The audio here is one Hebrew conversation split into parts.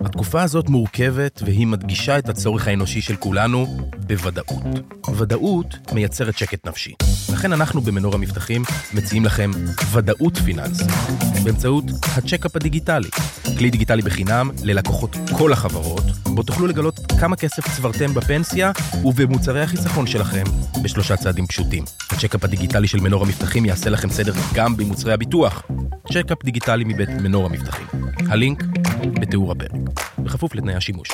התקופה הזאת מורכבת והיא מדגישה את הצורך האנושי של כולנו בוודאות. ודאות מייצרת שקט נפשי. לכן אנחנו במנור המבטחים מציעים לכם ודאות פיננסית באמצעות הצ'קאפ הדיגיטלי, כלי דיגיטלי בחינם ללקוחות כל החברות, בו תוכלו לגלות כמה כסף צברתם בפנסיה ובמוצרי החיסכון שלכם בשלושה צעדים פשוטים. הצ'קאפ הדיגיטלי של מנור המבטחים יעשה לכם סדר גם במוצרי הביטוח. צ'קאפ דיגיטלי מבית מנור המבטחים. הלינק בתיאור הפרק, בכפוף לתנאי השימוש.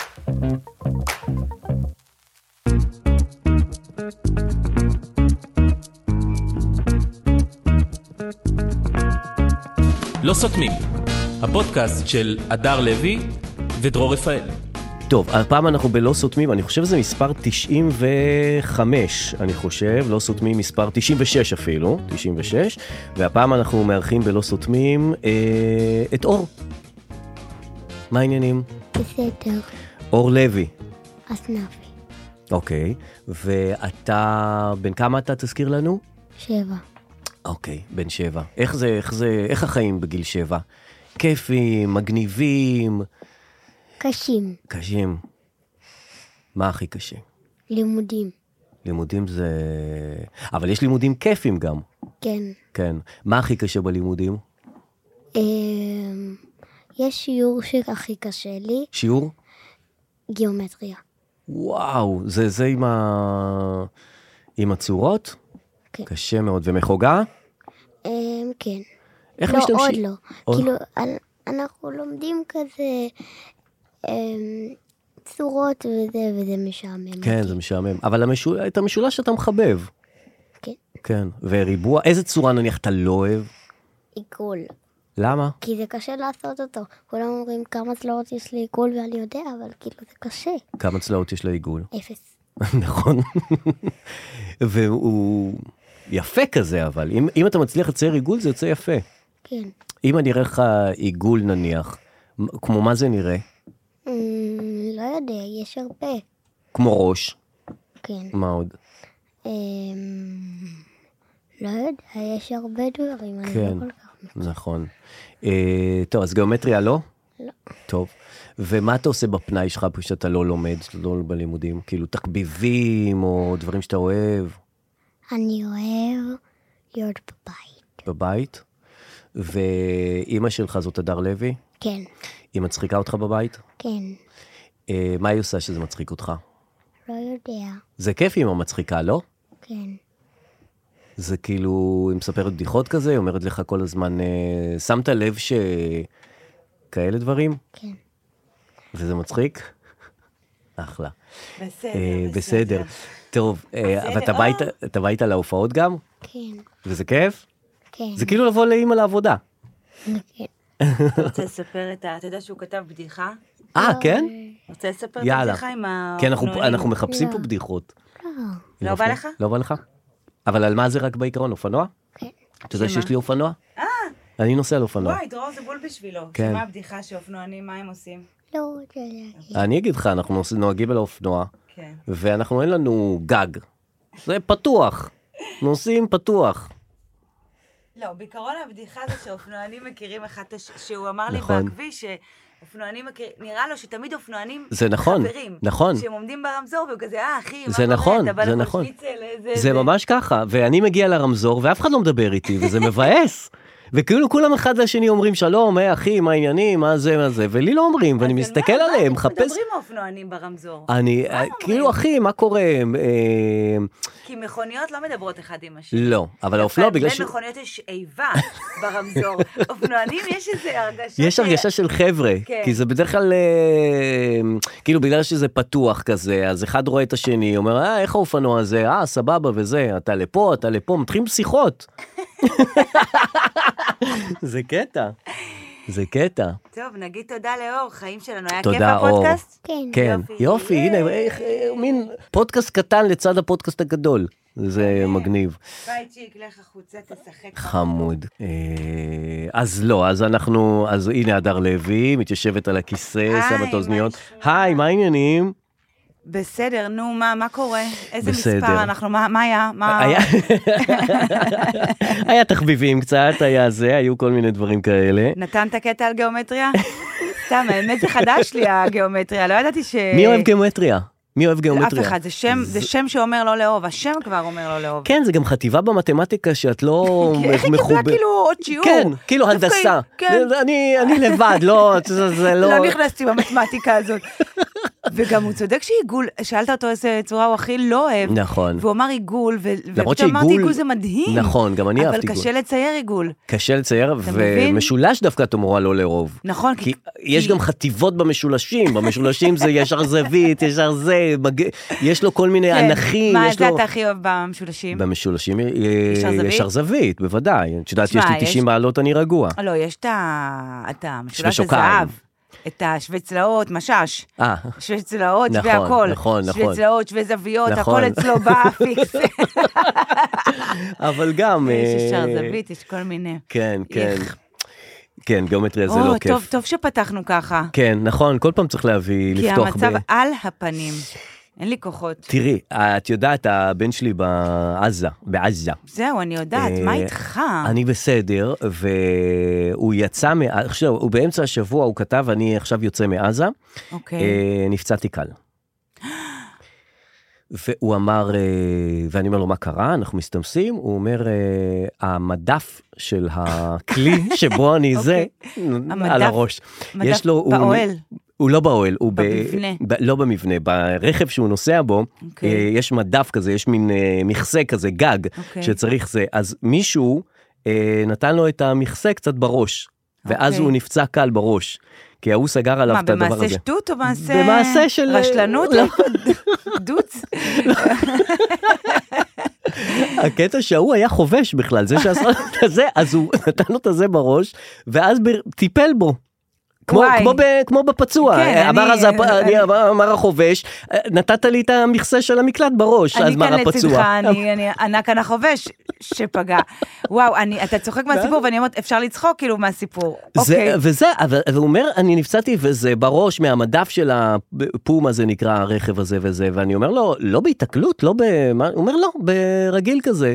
לא סותמים, הפודקאסט של הדר לוי ודרור רפאל. טוב, הפעם אנחנו בלא סותמים, אני חושב שזה מספר 95, אני חושב, לא סותמים מספר 96 אפילו, 96, והפעם אנחנו מארחים בלא סותמים אה, את אור. מה העניינים? בסדר, אור לוי, אז נבי. אוקיי, ואתה, בן כמה אתה תזכיר לנו? שבע. אוקיי, בן שבע. איך זה, איך זה, איך החיים בגיל שבע? כיפים, מגניבים, קשים. קשים. מה הכי קשה? לימודים. לימודים זה... אבל יש לימודים כיפים גם, כן. כן. מה הכי קשה בלימודים? אמ, יש שיעור שהכי קשה לי, שיעור? גיאומטריה. וואו, זה זה עם ה... עם הצורות? כן. קשה מאוד. ומחוגה? אמ, כן. איך לא, משתמשים? עוד לא. עוד- כאילו, אנ- אנחנו לומדים כזה אמ, צורות וזה, וזה משעמם. כן, זה משעמם. אבל המשול... את המשולש אתה מחבב. כן. כן. וריבוע, איזה צורה נניח אתה לא אוהב? עיגול. למה? כי זה קשה לעשות אותו. כולם אומרים כמה צלעות יש לעיגול ואני יודע, אבל כאילו זה קשה. כמה צלעות יש לעיגול? אפס. נכון. והוא יפה כזה, אבל אם, אם אתה מצליח לצייר עיגול זה יוצא יפה. כן. אם אני אראה לך עיגול נניח, מ- כמו מה זה נראה? אמ, לא יודע, יש הרבה. כמו ראש, כן. מה עוד? אמ, לא יודע, יש הרבה דברים, אני כן. לא כל כך... נכון. אה, טוב, אז גיאומטריה לא? לא. טוב. ומה אתה עושה בפנאי שלך כשאתה לא לומד, לא בלימודים? כאילו תחביבים או דברים שאתה אוהב אני אוהב להיות בבית. בבית? ואימא שלך זאת הדר לוי? כן, היא מצחיקה אותך בבית? כן, אה, מה היא עושה שזה מצחיק אותך? לא יודע, זה כיף אם היא מצחיקה, לא? כן, זה כאילו, היא מספרת בדיחות כזה, היא אומרת לך כל הזמן, אה, שמת לב ש... כאלה דברים? כן. וזה מצחיק? אחלה. בסדר, אה, בסדר. טוב, אה, אבל אתה בא איתה- אתה בא איתה להופעות גם? כן, וזה כיף? כן, זה כאילו לבוא לאימא לעבודה. כן. אתה רוצה לספר את ה... אתה יודע שהוא כתב בדיחה? אה, לא, כן? רוצה לספר את יאללה. הבדיחה עם ה... כן, אנחנו- אופנועים? אנחנו מחפשים פה לא. בדיחות. לא בא לך? לא בא לך? אבל על מה זה רק בעיקרון? אופנוע? כן. אתה יודע שמה? שיש לי אופנוע? אני נוסע על אופנוע. אה. וואי, דרור זה בול בשבילו. לא. כן. שמה הבדיחה שאופנוענים, מה הם עושים? לא רוצה להגיד. אני אגיד לך, אנחנו נוס- נוהגים על האופנוע, כן. ואנחנו אין לנו גג. זה פתוח. נוסעים פתוח. לא, בעיקרון הבדיחה זה שאופנוענים מכירים אחד את השני, שהוא אמר לי נכון. בכביש שאופנוענים מכירים, נראה לו שתמיד אופנוענים זה נכון, חברים. נכון. שהם עומדים ברמזור והוא כזה, אה, אחי, מה זה קורה? נכון, אתה בא זה לפה נכון. שניצל, איזה- זה ממש ככה, ואני מגיע לרמזור ואף אחד לא מדבר איתי, וזה מבאס. וכאילו כולם אחד לשני אומרים שלום, היי אחי, מה העניינים, מה זה, מה זה, ולי לא אומרים, ואני אז על מסתכל מה- מה עליהם, אתם מחפש... מדברים האופנוענים ברמזור. אני, מה כאילו אומרים? אחי, מה קורה? אה, כי מכוניות לא מדברות אחד עם השני. לא, אבל האופנוע בגלל ש... אה, בין מכוניות יש איבה ברמזור. אופנוענים יש איזה הרגשה... יש ש- הרגשה של חבר'ה, כן. כי זה בדרך כלל, אה, כאילו בגלל שזה פתוח כזה, אז אחד רואה את השני, אומר, אה, איך האופנוע הזה? אה, סבבה וזה, אתה לפה, אתה לפה, מתחילים שיחות. זה קטע, זה קטע. טוב, נגיד תודה לאור, חיים שלנו. היה כיף תודה, אור. הפודקאסט? כן, כן, יופי. יופי, הנה, ייי. איך, אה, מין פודקאסט קטן לצד הפודקאסט הגדול. זה מגניב, ביי צ'יק, לך החוצה, תשחק. חמוד. אה, אז לא, אז אנחנו, אז הנה הדר לוי, מתיישבת על הכיסא, היי, שמה את מה האוזניות. נשמע? היי, מה העניינים? בסדר, נו, מה, מה קורה? איזה בסדר. מספר אנחנו, מה, מה היה? מה... היה- היה תחביבים קצת, היה זה, היו כל מיני דברים כאלה. נתן את הקטע על גיאומטריה? סתם, האמת זה חדש לי הגיאומטריה, לא ידעתי ש... מי אוהב גיאומטריה? מי אוהב גיאומטריה? אף אחד, זה שם, זה שם שאומר לא לאהוב, השם כבר אומר לא לאהוב. כן, זה גם חטיבה במתמטיקה שאת לא כי איך היא קיבלה מחוברת. כאילו עוד שיעור? כן, כאילו דווקא הנדסה. היא- כן. זה- אני אני לבד, לא, זה זה לא... לא נכנסתי במתמטיקה הזאת. וגם הוא צודק שעיגול, שאלת אותו איזה צורה הוא הכי לא אוהב. נכון. והוא אמר עיגול, ו- למרות ופתאום אמרתי שעיגול- עיגול זה מדהים. נכון, גם אני אהבתי עיגול. אבל קשה לצייר עיגול. קשה לצייר, מבין? ומשולש דווקא את אמורה לא לאהוב. נכון, כי יש גם חטיבות במשולשים, במשולשים זה ישר זווית, ישר זה, מג- יש לו כל מיני כן. אנכים, מה, יש זה לו... אתה הכי אוהב במשולשים? במשולשים אה, ישר זווית? ישר זווית, בוודאי. את יודעת, יש תשמע, לי יש- 90 מעלות, אני רגוע. לא, יש את ה- את המשולש שוקיים. הזהב. את השווה צלעות, משש. אה, שווה צלעות, נכון, שווה הכל. נכון, נכון. שווה צלעות, שווה זוויות, נכון. הכל אצלו בא פיקס. אבל גם... יש ישר אה, זווית, יש כל מיני. כן, כן. איך. כן, גיאומטריה זה לא או, טוב, כיף. טוב שפתחנו ככה. כן, נכון, כל פעם צריך להביא, כי לפתוח ב... המצב על הפנים. אין לי כוחות. תראי, את יודעת, הבן שלי בעזה, בעזה. זהו, אני יודעת, אה, מה איתך? אני בסדר, והוא יצא, מע- עכשיו, הוא באמצע השבוע, הוא כתב, אני עכשיו יוצא מעזה, אוקיי. אה, נפצעתי קל. והוא אמר, אה, ואני אומר לו, מה קרה? אנחנו מסתמסים? הוא אומר, אה, המדף של הכלי שבו אני זה, על אוקיי. המדף- הראש. מדף יש לו- הוא- באוהל. הוא לא באוהל, הוא ב- במבנה. ב... לא במבנה, ברכב שהוא נוסע בו, okay. אוקיי. יש מדף כזה, יש מין אה, מכסה כזה, גג, okay. אוקיי. שצריך זה. אז מישהו אה, נתן לו את המכסה קצת בראש, ואז okay. אוקיי. הוא נפצע קל בש, כי ההוא סגר עליו מה, את הדבר הזה. במעשה שטות או מעשה... במעשה של- רשלנות? לא. דוץ? הקטע שההוא היה חובש בכלל, זה שעשה לו את הזה, אז הוא נתן לו את הזה בראש, ואז ב- טיפל בו. כמו, וואי. כמו, ב, כמו בפצוע, כן, אמר, אני- אז, הפ- אני- אני, אמר, אמר החובש, "אה, נתת לי את המכסה של המקלט בראש, אז אני אמר כאן הפצוע. לצדך, אני- אני ענק כאן החובש שפגע. וואו, אני- אתה צוחק מהסיפור, ואני אומרת, אפשר לצחוק כאילו מהסיפור. זה, אוקיי. וזה, אבל אבל הוא אומר, אני נפצעתי וזה בראש מהמדף של הפום הזה נקרא הרכב הזה וזה, ואני אומר לו, לא בהיתקלות, לא במה, הוא אומר לא, ברגיל כזה.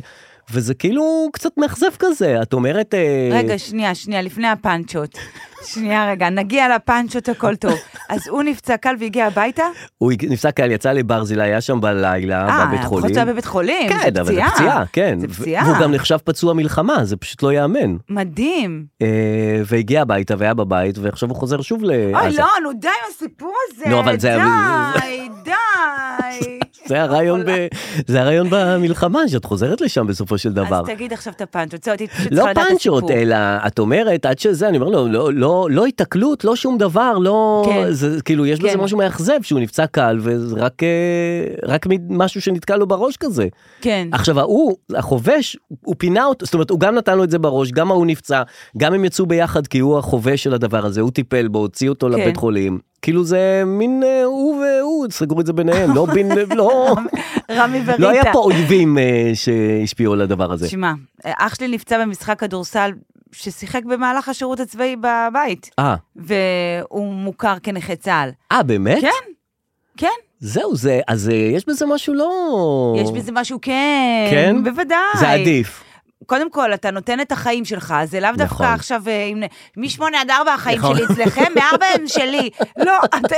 וזה כאילו קצת מאכזב כזה, את אומרת... אה, רגע, שנייה, שנייה, לפני הפאנצ'ות. שנייה, רגע, נגיע לפאנצ'ות, הכל טוב. אז הוא נפצע קל והגיע הביתה? הוא נפסק קהל, יצא לברזילי, היה שם בלילה, בבית אה, חולים. חוץ בבית חולים, כן, זה אבל זה פציעה, כן. זה ו- פציעה. והוא גם נחשב פצוע מלחמה, זה פשוט לא ייאמן. מדהים. אה, והגיע הביתה והיה בבית, ועכשיו הוא חוזר שוב לעזה. אוי, לא, נו, די עם הסיפור הזה. אה, נו, אבל זה- די, די. זה הרעיון, ב... זה הרעיון במלחמה, שאת חוזרת לשם בסופו של דבר. אז תגיד עכשיו את הפאנצ'ות, זהו, הייתי פשוט לא צריכה לדעת את הסיפור. פאנצ'ות, אלא את אומרת, עד שזה, אני אומר לו, לא, לא, לא התקלות, לא שום דבר, לא... כן. זה, כאילו, יש בזה כן. משהו מאכזב, שהוא נפצע קל, וזה רק, אה, רק מ- משהו שנתקע לו בראש כזה. כן. עכשיו ההוא, החובש, הוא פינה אותו, זאת אומרת, הוא גם נתן לו את זה בראש, גם ההוא נפצע, גם הם יצאו ביחד כי הוא החובש של הדבר הזה, הוא טיפל בו, הוציא אותו כן. לבית חולים. כאילו זה מין אה, הוא והוא, סגרו את זה ביניהם, לא בין, לא, רמי וריטה. לא היה פה אויבים אה, שהשפיעו על הדבר הזה. תשמע, אח שלי נפצע במשחק כדורסל ששיחק במהלך השירות הצבאי בבית, אה, והוא מוכר כנכה צה"ל. אה באמת? כן, כן. זהו, זה, אז אה, יש בזה משהו לא... יש בזה משהו, כן, כן? בוודאי. זה עדיף. קודם כל, אתה נותן את החיים שלך, זה לאו נכון. דווקא עכשיו, אה, אם... נ- משמונה עד ארבע החיים נכון. שלי אצלכם, מארבע הם שלי. לא, אתם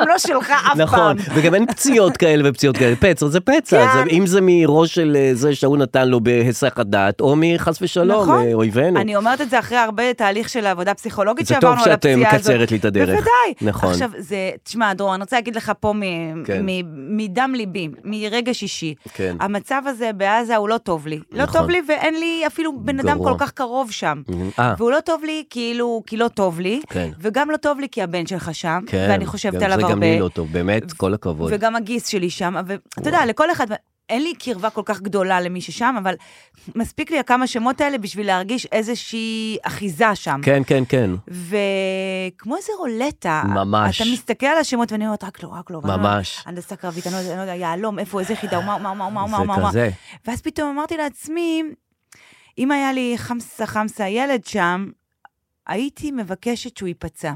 הם לא שלך אף נכון, פעם. וגם אין פציעות כאלה ופציעות כאלה, פצע זה פצע, כן. זה, אם זה מראש של אה, זה שההוא נתן לו בהיסח הדעת, או מחס ושלום, נכון. אה, אויבינו. אני אומרת את זה אחרי הרבה תהליך של עבודה פסיכולוגית זה טוב שעברנו על שאת, אה, הפציעה הזאת. מקצרת לי את הדרך. בוודאי. נכון. עכשיו, זה, תשמע, דרור, אני רוצה להגיד לך פה מ- כן. מ- מדם ליבי, מרגע שישי. כן. המצב הזה בעזה הוא לא טוב לי. לא נכון. טוב לי ואין לי אפילו בן אדם גרוע. כל כך קרוב שם. אה, והוא לא טוב לי כאילו, כי לא טוב לי, כן. וגם לא טוב לי כי הבן שלך שם, כן, ואני חושבת גם עליו זה הרבה, גם לי לא טוב, באמת, כל הכבוד. וגם הגיס שלי שם, ואתה יודע, לכל אחד, אין לי קרבה כל כך גדולה למי ששם, אבל מספיק לי הכמה שמות האלה בשביל להרגיש איזושהי אחיזה שם. כן, כן, כן, וכמו איזה רולטה, ממש. אתה מסתכל על השמות ואני אומרת, רק לא, רק לא, רק לא." ממש. הנדסה קרבית, אני לא יודע- אני לא יודע, יהלום, איפה, איזה יחידה, ומה, מה, מה, מה, זה מה, מה, מה. כזה. ואז פתאום אמרתי לעצמי, אם היה לי חמסה חמסה ילד שם, הייתי מבקשת שהוא ייפצע.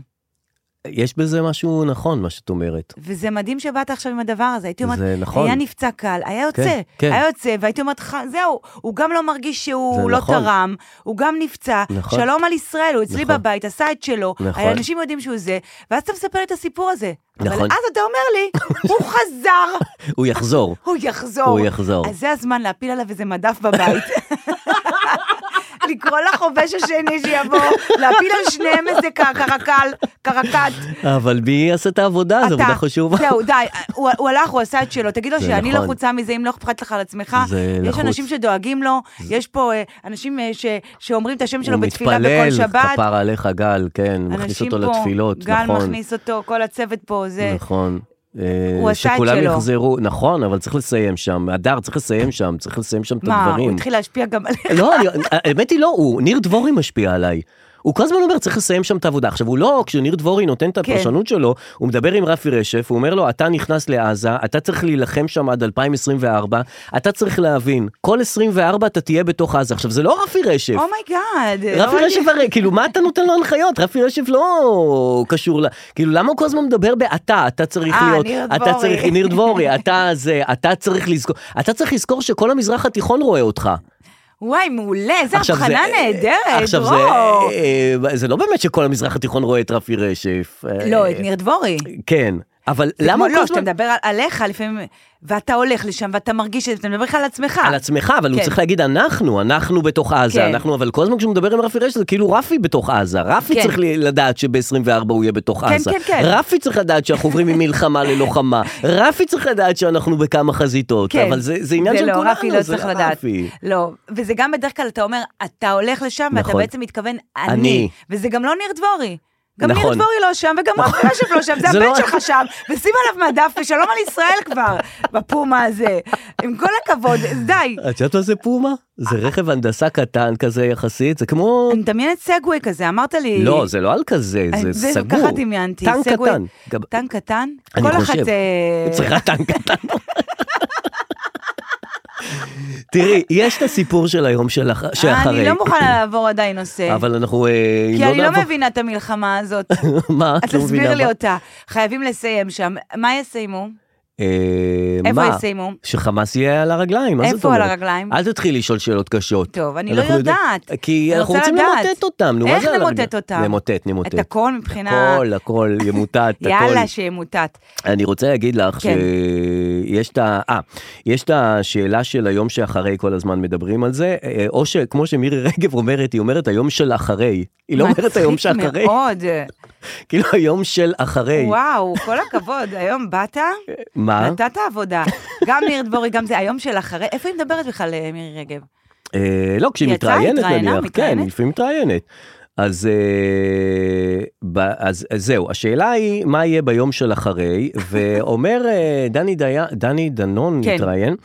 יש בזה משהו נכון, מה שאת אומרת. וזה מדהים שבאת עכשיו עם הדבר הזה. הייתי אומרת, זה נכון. היה נפצע קל, היה יוצא, כן, כן. היה יוצא, והייתי אומרת לך, זהו, הוא גם לא מרגיש זה שהוא לא נכון. תרם, הוא גם נפצע, נכון. שלום על ישראל, הוא אצלי נכון. בבית, עשה את שלו, נכון. האנשים יודעים שהוא זה, ואז אתה מספר לי את הסיפור הזה. אבל נכון. אז אתה אומר לי, הוא חזר, הוא יחזור. הוא יחזור. הוא יחזור. אז זה הזמן להפיל עליו איזה מדף בבית. לקרוא לחובש השני שיבוא, להפיל על שניהם איזה ק- קרקל, קרקט. אבל מי יעשה את העבודה? אה, זו אתה- עבודה חשובה. זהו, די, אה, הוא, הוא הלך, הוא עשה את שלו, תגיד לו זה שאני נכון. לחוצה מזה, אם לא אכפת לך על עצמך. זה יש לחוץ. אנשים שדואגים לו, יש פה אה, אנשים אה, ש, שאומרים את השם שלו הוא בתפילה מתפלל, בכל שבת. כפר עליך גל, כן, מכניס אנשים אותו פה, לתפילות, גל נכון. מכניס אותו, כל הצוות פה, זה... נכון. אה, הוא עשה את שכולם שלו. יחזרו, נכון, אבל צריך לסיים שם, הדר צריך לסיים שם, צריך לסיים שם את מה, הוא הדברים. התחיל להשפיע גם עליך? לא, אני- האמת היא לא הוא, ניר דבורי משפיע עליי. הוא כל הזמן אומר, צריך לסיים שם את העבודה. עכשיו, הוא לא, כשניר דבורי נותן את כן. הפרשנות שלו, הוא מדבר עם רפי רשף, הוא אומר לו, אתה נכנס לעזה, אתה צריך להילחם שם עד 2024, אתה צריך להבין, כל 24 אתה תהיה בתוך עזה. עכשיו, זה לא רפי רשף. Oh אומייגאד. רפי רשף הרי, כאילו, מה אתה נותן לו הנחיות? רפי רשף לא קשור ל... כאילו, למה הוא כל הזמן מדבר באתה? אתה צריך אה, להיות... ניר אתה דבורי. צריך, ניר דבורי, אתה זה, אתה צריך לזכור... אתה צריך לזכור שכל המזרח התיכון רואה אותך. וואי, מעולה, איזה עכשיו, הבחנה זה- נהדרת, עכשיו, זה, דרור. אה, זה לא באמת שכל המזרח התיכון רואה את רפי רשף. אה, לא, את ניר דבורי. כן, אבל זה למה כמו כל לא, שאתה הזמן... מדבר על- עליך לפעמים, ואתה הולך לשם ואתה מרגיש את זה, אתה מדבר לך על עצמך. על עצמך, אבל הוא כן. צריך להגיד אנחנו, אנחנו בתוך עזה, כן. אנחנו, אבל כל הזמן כשהוא מדבר עם רפי רשף, זה כאילו רפי בתוך עזה. רפי כן. צריך ל- לדעת שב-24 הוא יהיה בתוך כן, עזה. כן, כן. רפי צריך לדעת שאנחנו עוברים ממלחמה ללוחמה. רפי צריך לדעת שאנחנו בכמה חזיתות. כן. אבל זה זה עניין של לא, כולנו, רפי לא זה צריך לדעת. רפי. לא, וזה גם בדרך כלל אתה אומר, אתה הולך לשם ואתה נכון. בעצם מתכוון אני. אני. וזה גם לא ניר דבורי. גם ניר נכון. דבורי לא שם, וגם רפי רשף לא שם, זה זה לא- הבן שלך שם, ושים עליו מדף, ושלום על ישראל כבר, בפומה הזה. עם כל הכבוד, די. את יודעת מה זה פומה? זה אה. רכב הנדסה קטן כזה יחסית, זה כמו אני מדמיינת סגווי כזה, אמרת לי... לא, זה לא על כזה, אה, זה זה סגור. ככה דמיינתי, טנק סגווי. קטן. גם- טנק קטן? אני כל חושב. אחת... אה, צריכה טנק קטן. תראי, יש את הסיפור של היום שלח- אני שאחרי, לא מוכנה לעבור עדיין נושא. אבל אנחנו... אה, אם כי אני לא נעבור- מבינה את המלחמה הזאת. מה? אז את לא תסביר מבינה לי מה? אותה. חייבים לסיים שם. מה יסיימו? אה, איפה מה? יסיימו? שחמאס יהיה על הרגליים, מה זאת איפה על אומרת? הרגליים? אל תתחילי לשאול שאלות קשות. טוב, אני לא אנחנו יודעים- יודעת. כי אני אנחנו רוצה רוצים לדעת. למוטט אותם, נו, מה איך זה על הרגליים? למוטט אותם? למוטט, נמוטט. את הכל מבחינה... הכל, הכל, ימוטט, הכל. יאללה, שימוטט. אני רוצה להגיד לך כן. שיש את ה... אה, יש את השאלה של היום שאחרי כל הזמן מדברים על זה, אה, או שכמו שמירי רגב אומרת, היא אומרת היום של אחרי. היא לא אומרת היום שאחרי, מצחיק מאוד. כאילו היום של אחרי. וואו, כל הכבוד. היום באת, אה? מה? נתת עבודה. גם ניר דבורי, גם זה היום של אחרי. איפה היא מדברת בכלל, אה, מירי רגב? אה, לא, כשהיא היא יצאה, מתראיינת התראיינה, נניח, כן, מתראיינת? היא לפעמים מתראיינת. אז, אה, ב, אז, אז זהו, השאלה היא מה יהיה ביום של אחרי, ואומר אה, דני, די, דני דנון כן. מתראיין,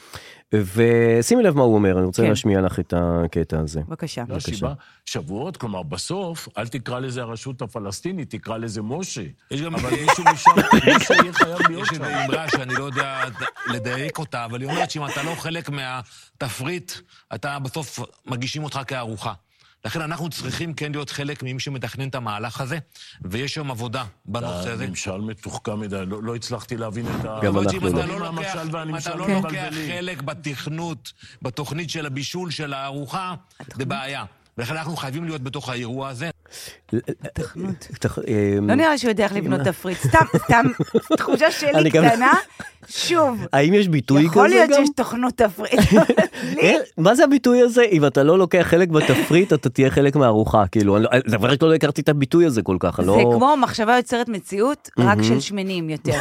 ושימי לב מה הוא אומר, אני רוצה כן. להשמיע לך את הקטע הזה. בבקשה. לא שבעה שבועות, כלומר, בסוף, אל תקרא לזה הרשות הפלסטינית, תקרא לזה משה. יש גם אה, אבל מישהו משם, מישהו יהיה חייב להיות יש איזו שם. אמרה שאני לא יודע לדייק אותה, אבל היא אומרת שאם אתה לא חלק מהתפריט, אתה בסוף מגישים אותך כארוחה. לכן אנחנו צריכים כן להיות חלק ממי שמתכנן את המהלך הזה, ויש היום עבודה בנושא הזה. הממשל מתוחכם מדי, לא לא הצלחתי להבין את ה... גם אבל אנחנו אם לא. אתה לא לוקח- המשל אם אתה והנמשל לא לוקח חלק בתכנות, בתוכנית של הבישול של הארוחה, זה בעיה. ולכן אנחנו חייבים להיות בתוך האירוע הזה. תכנות. תח- אה, לא נראה לי שהוא יודע איך לבנות תפריט. סתם, סתם, תחושה שלי אני גם- קטנה. שוב, האם יש ביטוי יכול כזה להיות גם? שיש תוכנות תפריט. אה, מה זה הביטוי הזה? אם אתה לא לוקח חלק בתפריט, אתה תהיה חלק מהארוחה. כאילו, אני לא- דבר ראשון לא הכרתי את הביטוי הזה כל כך, אני לא... זה כמו מחשבה יוצרת מציאות, רק של שמנים יותר.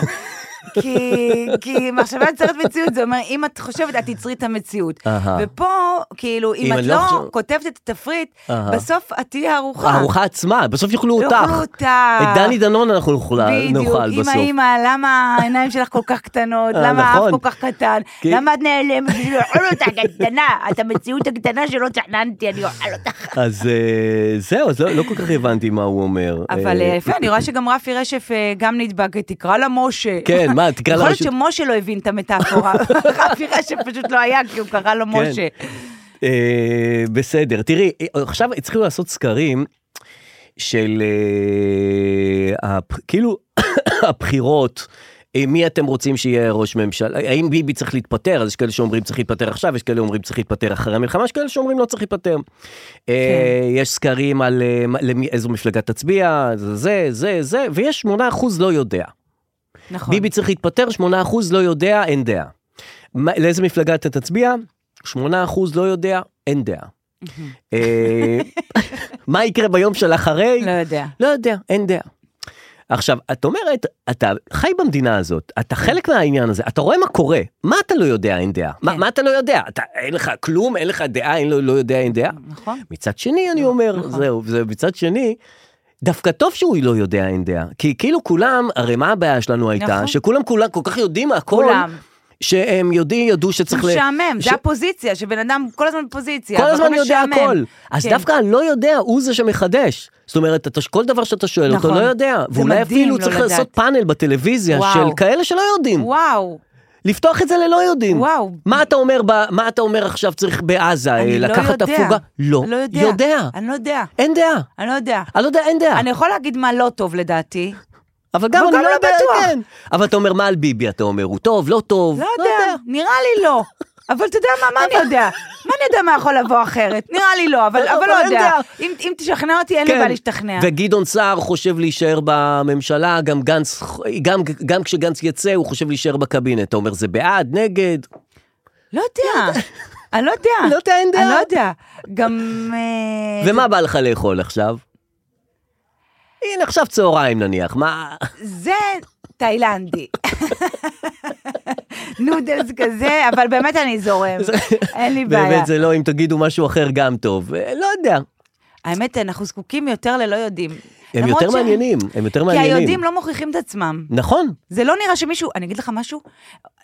כי, כי מחשבה יוצרת מציאות, זה אומר, אם את חושבת, את תיצרי את המציאות. אהה. ופה, כאילו, אם, אם את אני לא לא חושב- כותבת את התפריט, אהה. בסוף את תהיי ערוכה. הארוחה עצמה, בסוף יאכלו אותך. יאכלו אותך. את דני דנון אנחנו נאכל לא, בדיוק, נאכל אמא, בסוף. אמא, למה העיניים שלך כל כך קטנות? אה, למה האף נכון. כל כך קטן? כי- למה את נעלמת? לא בשביל לאכול אותך קטנה, את המציאות הקטנה שלא תכננתי, אני אוכל אותך. אז אה, זהו, אז לא לא כל כך הבנתי מה הוא אומר. אבל אה, אה, יפה, אני רואה שגם רפי רשף אה, גם נדבק, תקרא לה משה. כן, מה, תקרא לה יכול רשות- להיות שמשה לא הבין את המטאפורה, רפי רשף פשוט לא היה, כי הוא קרא לו כן. משה. אה, בסדר, תראי, אה, עכשיו התחילו לעשות סקרים של אה, הפ- כאילו הבחירות, אה, מי אתם רוצים שיהיה ראש ממשלה, האם ביבי צריך להתפטר, אז יש כאלה שאומרים צריך להתפטר עכשיו, יש כאלה שאומרים צריך להתפטר אחרי המלחמה, יש כאלה שאומרים לא צריך להתפטר. אה, יש סקרים על אה, מה- למי- איזו מפלגה תצביע, זה, זה, זה, זה, ויש 8% לא יודע. נכון. ביבי צריך להתפטר, 8% לא יודע, אין דעה. מה- לאיזה מפלגה אתה תצביע? 8% לא יודע, אין דעה. אה, מה יקרה ביום של אחרי? לא יודע. לא יודע, אין דעה. עכשיו, את אומרת, אתה חי במדינה הזאת, אתה חלק מהעניין הזה, אתה רואה מה קורה, מה אתה לא יודע, אין דעה? מה, כן. מה אתה לא יודע? אתה, אין לך כלום, אין לך דעה, אין, לא, לא יודע, אין דעה? נכון. מצד שני, אני אומר, נכון. זהו, זה מצד שני, דווקא טוב שהוא לא יודע, אין דעה. כי כאילו כולם, הרי מה הבעיה שלנו הייתה? נכון. שכולם כולם כל כך יודעים הכל, כולם. שהם יודעים, ידעו שצריך... ל- משעמם, ש- זה הפוזיציה, שבן אדם כל הזמן בפוזיציה. כל הזמן והכל יודע משעמם. הכל. אז כן. דווקא הלא יודע הוא זה שמחדש. זאת אומרת, אתה, כל דבר שאתה שואל אותו נכון. לא יודע. זה ואולי מדהים אפילו לא צריך לדעת. לעשות פאנל בטלוויזיה וואו. של כאלה שלא יודעים. וואו, לפתוח את זה ללא יודעים. וואו. מה אתה אומר, ב, מה אתה אומר עכשיו צריך בעזה, אה, אני לא לקחת יודע. הפוגה? לא, לא יודע. יודע. אני לא יודע. אין דעה. אני לא יודע. אני לא יודע, אין דעה. אני יכול להגיד מה לא טוב לדעתי. אבל גם אבל אני גם לא לא יודע, בטוח. כן. אבל אתה אומר, מה על ביבי? אתה אומר, הוא טוב, לא טוב? לא יודע, נראה לי לא. אבל אתה יודע מה, מה אני יודע? מה אני יודע מה יכול לבוא אחרת? נראה לי לא, אבל אבל- אבל אבל לא אין יודע. דעה. אם אם תשכנע אותי, אין לי כן. בעיה להשתכנע. וגדעון סער חושב להישאר בממשלה, גם גנץ, גם, גם כשגנץ יצא, הוא חושב להישאר בקבינט. אתה אומר, זה בעד, נגד? לא יודע. אני לא יודע. לא יודע, אין דעה. אני לא יודע. גם... אה, ומה בא לך לאכול עכשיו? הנה, עכשיו צהריים נניח, מה... זה תאילנדי. נודלס כזה, אבל באמת אני זורם. אין לי בעיה. באמת זה לא, אם תגידו משהו אחר גם טוב. אה, לא יודע. האמת, אנחנו זקוקים יותר ללא יודעים. הם למרות יותר ש- מעניינים, הם יותר כי מעניינים. היודעים לא מוכיחים את עצמם. נכון, זה לא נראה שמישהו, אני אגיד לך משהו,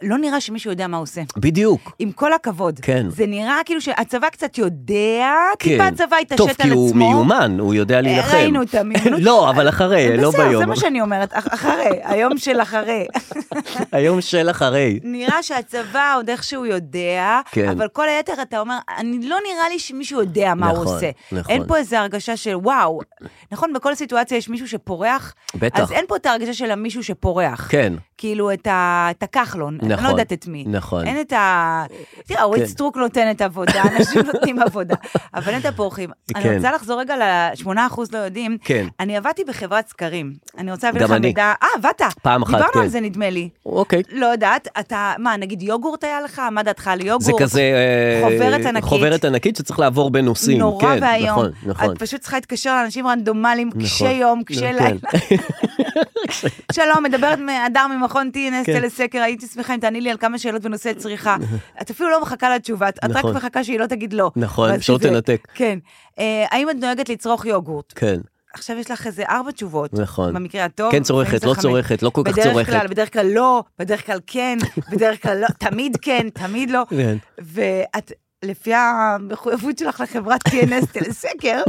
לא נראה שמישהו יודע מה הוא עושה. בדיוק. עם כל הכבוד. כן. זה נראה כאילו שהצבא קצת יודע, טיפה כן. הצבא התעשת על טוב, עצמו. כי הוא מיומן, הוא יודע להילחם. ראינו את המיומנות. אה, לא, אבל אחרי, לא בסדר, זה ביום. מה שאני אומרת, אח- אחרי, היום של אחרי. היום של אחרי. נראה שהצבא עוד איכשהו יודע, כן. אבל כל היתר אתה אומר, אני לא נראה לי שמישהו יודע מה נכון, הוא עושה. נכון. אין פה איזו הרגשה של וואו. נכון, בכל סיטואציה יש מישהו שפורח, בטח. אז אין פה את ההרגשה של המישהו שפורח. כן. כאילו, את, ה, את הכחלון, אני נכון, לא יודעת את מי. נכון. אין את ה... תראה, אורית כן. סטרוק נותנת עבודה, אנשים נותנים עבודה, אבל אין את הפורחים. כן. אני רוצה לחזור רגע ל-8% לא יודעים. כן. אני עבדתי בחברת סקרים. אני רוצה להביא גם לך אני. מידע... אה, עבדת. פעם אחת, דיברנו כן. על זה, נדמה לי. אוקיי. לא יודעת, אתה, מה, נגיד יוגורט היה לך? מה דעתך על יוגורט? זה כזה... אה, חוברת ענקית. חוברת ענקית שצריך לעבור בין נושאים. נורא כן, ואיום. נכון, נכון. את פשוט צריכה להתקשר לאנשים רנדומליים, נכון. קשי יום, קשי כן. לילה. שלום, מדברת מהדר ממכון TNS כן. טלסקר, הייתי שמחה אם תעני לי על כמה שאלות בנושא צריכה. את אפילו לא מחכה לתשובה, את רק נכון. מחכה שהיא לא תגיד לא. נכון, ואז שלא שזה- תנתק. כן. אה, האם את נוהגת לצרוך יוגורט? כן. עכשיו יש לך איזה ארבע תשובות. נכון. במקרה הטוב. כן צורכת, לפעמים זה לא חמש. צורכת, לא כל כך בדרך צורכת. כלל, בדרך כלל לא, בדרך כלל כן, בדרך כלל לא, תמיד כן, תמיד לא. כן. ואת, לפי המחויבות שלך לחברת TNS טלסקר,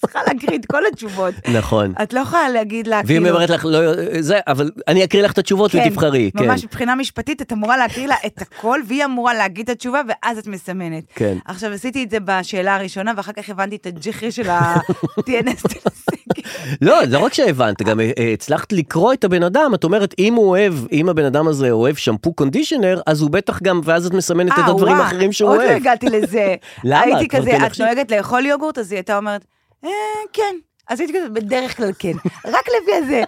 צריכה להקריא את כל התשובות. נכון. את לא יכולה להגיד לה, ואם כאילו... היא אומרת לך, לא, זה, אבל אני אקריא לך את התשובות כן, ותבחרי. כן, ממש מבחינה משפטית, את אמורה להקריא לה את הכל, והיא אמורה להגיד את התשובה, ואז את מסמנת. כן. עכשיו, עשיתי את זה בשאלה הראשונה, ואחר כך הבנתי את הג'חרי של ה-TNS טלסקר. לא, לא רק שהבנת, גם אה, אה, הצלחת לקרוא את הבן אדם, את אומרת, אם הוא אוהב, אם הבן אדם הזה אוהב שמפו קונדישנר, אז הוא בטח גם, ואז את מסמנת את אה, הדברים וואו, האחרים שהוא עוד אוהב. עוד לא הגעתי לזה. למה? הייתי את כבר כזה, כן את עכשיו- נוהגת לאכול יוגורט? אז היא הייתה אומרת, "אה, כן. אז הייתי כזה, בדרך כלל כן. רק לפי הזה.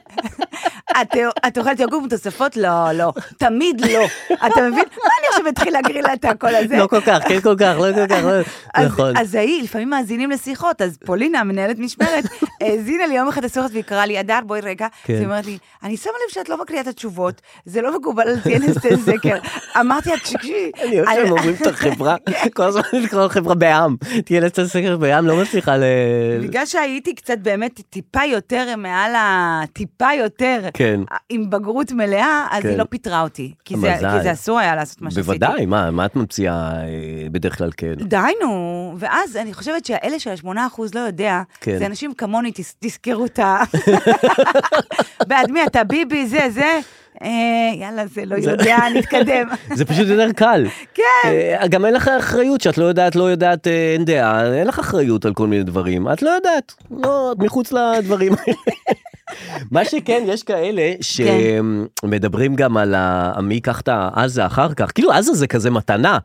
את, את אוכלת יוגורט עם תוספות? לא, לא. תמיד לא. אתה מבין? מה אני עכשיו אתחיל להגריל לה את הקול הזה? לא כל כך, כן כל כך, לא כל כך, לא, אז, נכון. אז ההיא, לפעמים מאזינים לשיחות, אז פולינה, מנהלת משמרת, האזינה לי יום אחד לשיחות והיא קראה לי, הדר, בואי רגע. כן. כן. אז היא אומרת לי, אני שמה לב שאת לא מקריאה את התשובות, זה לא מקובל על TNS זקר. אמרתי לה, תקשיבי. אני אוהב שהם אומרים את החברה, כל הזמן לקרוא לחברה בעם. תהיה לצד סקר בעם, לא מצליחה ל... בגלל שהייתי קצת באמת טיפה יותר מעל ה... טיפה יותר. כן. עם בגרות מלאה, אז כן. היא לא פיטרה אותי. כי זה, מזל. כי זה אסור היה לעשות מה שעשיתי. בוודאי, מה מה את ממציאה אה, בדרך כלל כן? די נו, ואז אני חושבת שהאלה של ה-8% לא יודע, כן. זה אנשים כמוני, תס, תזכרו את ה... בעד מי אתה, ביבי, זה, זה, אה, יאללה, זה לא יודע, נתקדם. זה פשוט יותר קל. כן. אה, גם אין לך אחריות שאת לא יודעת, לא יודעת, אה, אין דעה, אין לך אחריות על כל מיני דברים. את לא יודעת. לא, את מחוץ לדברים. מה שכן, יש כאלה שמדברים גם על ה... "אה, מי ייקח את העזה אחר כך. כאילו, עזה זה כזה מתנה.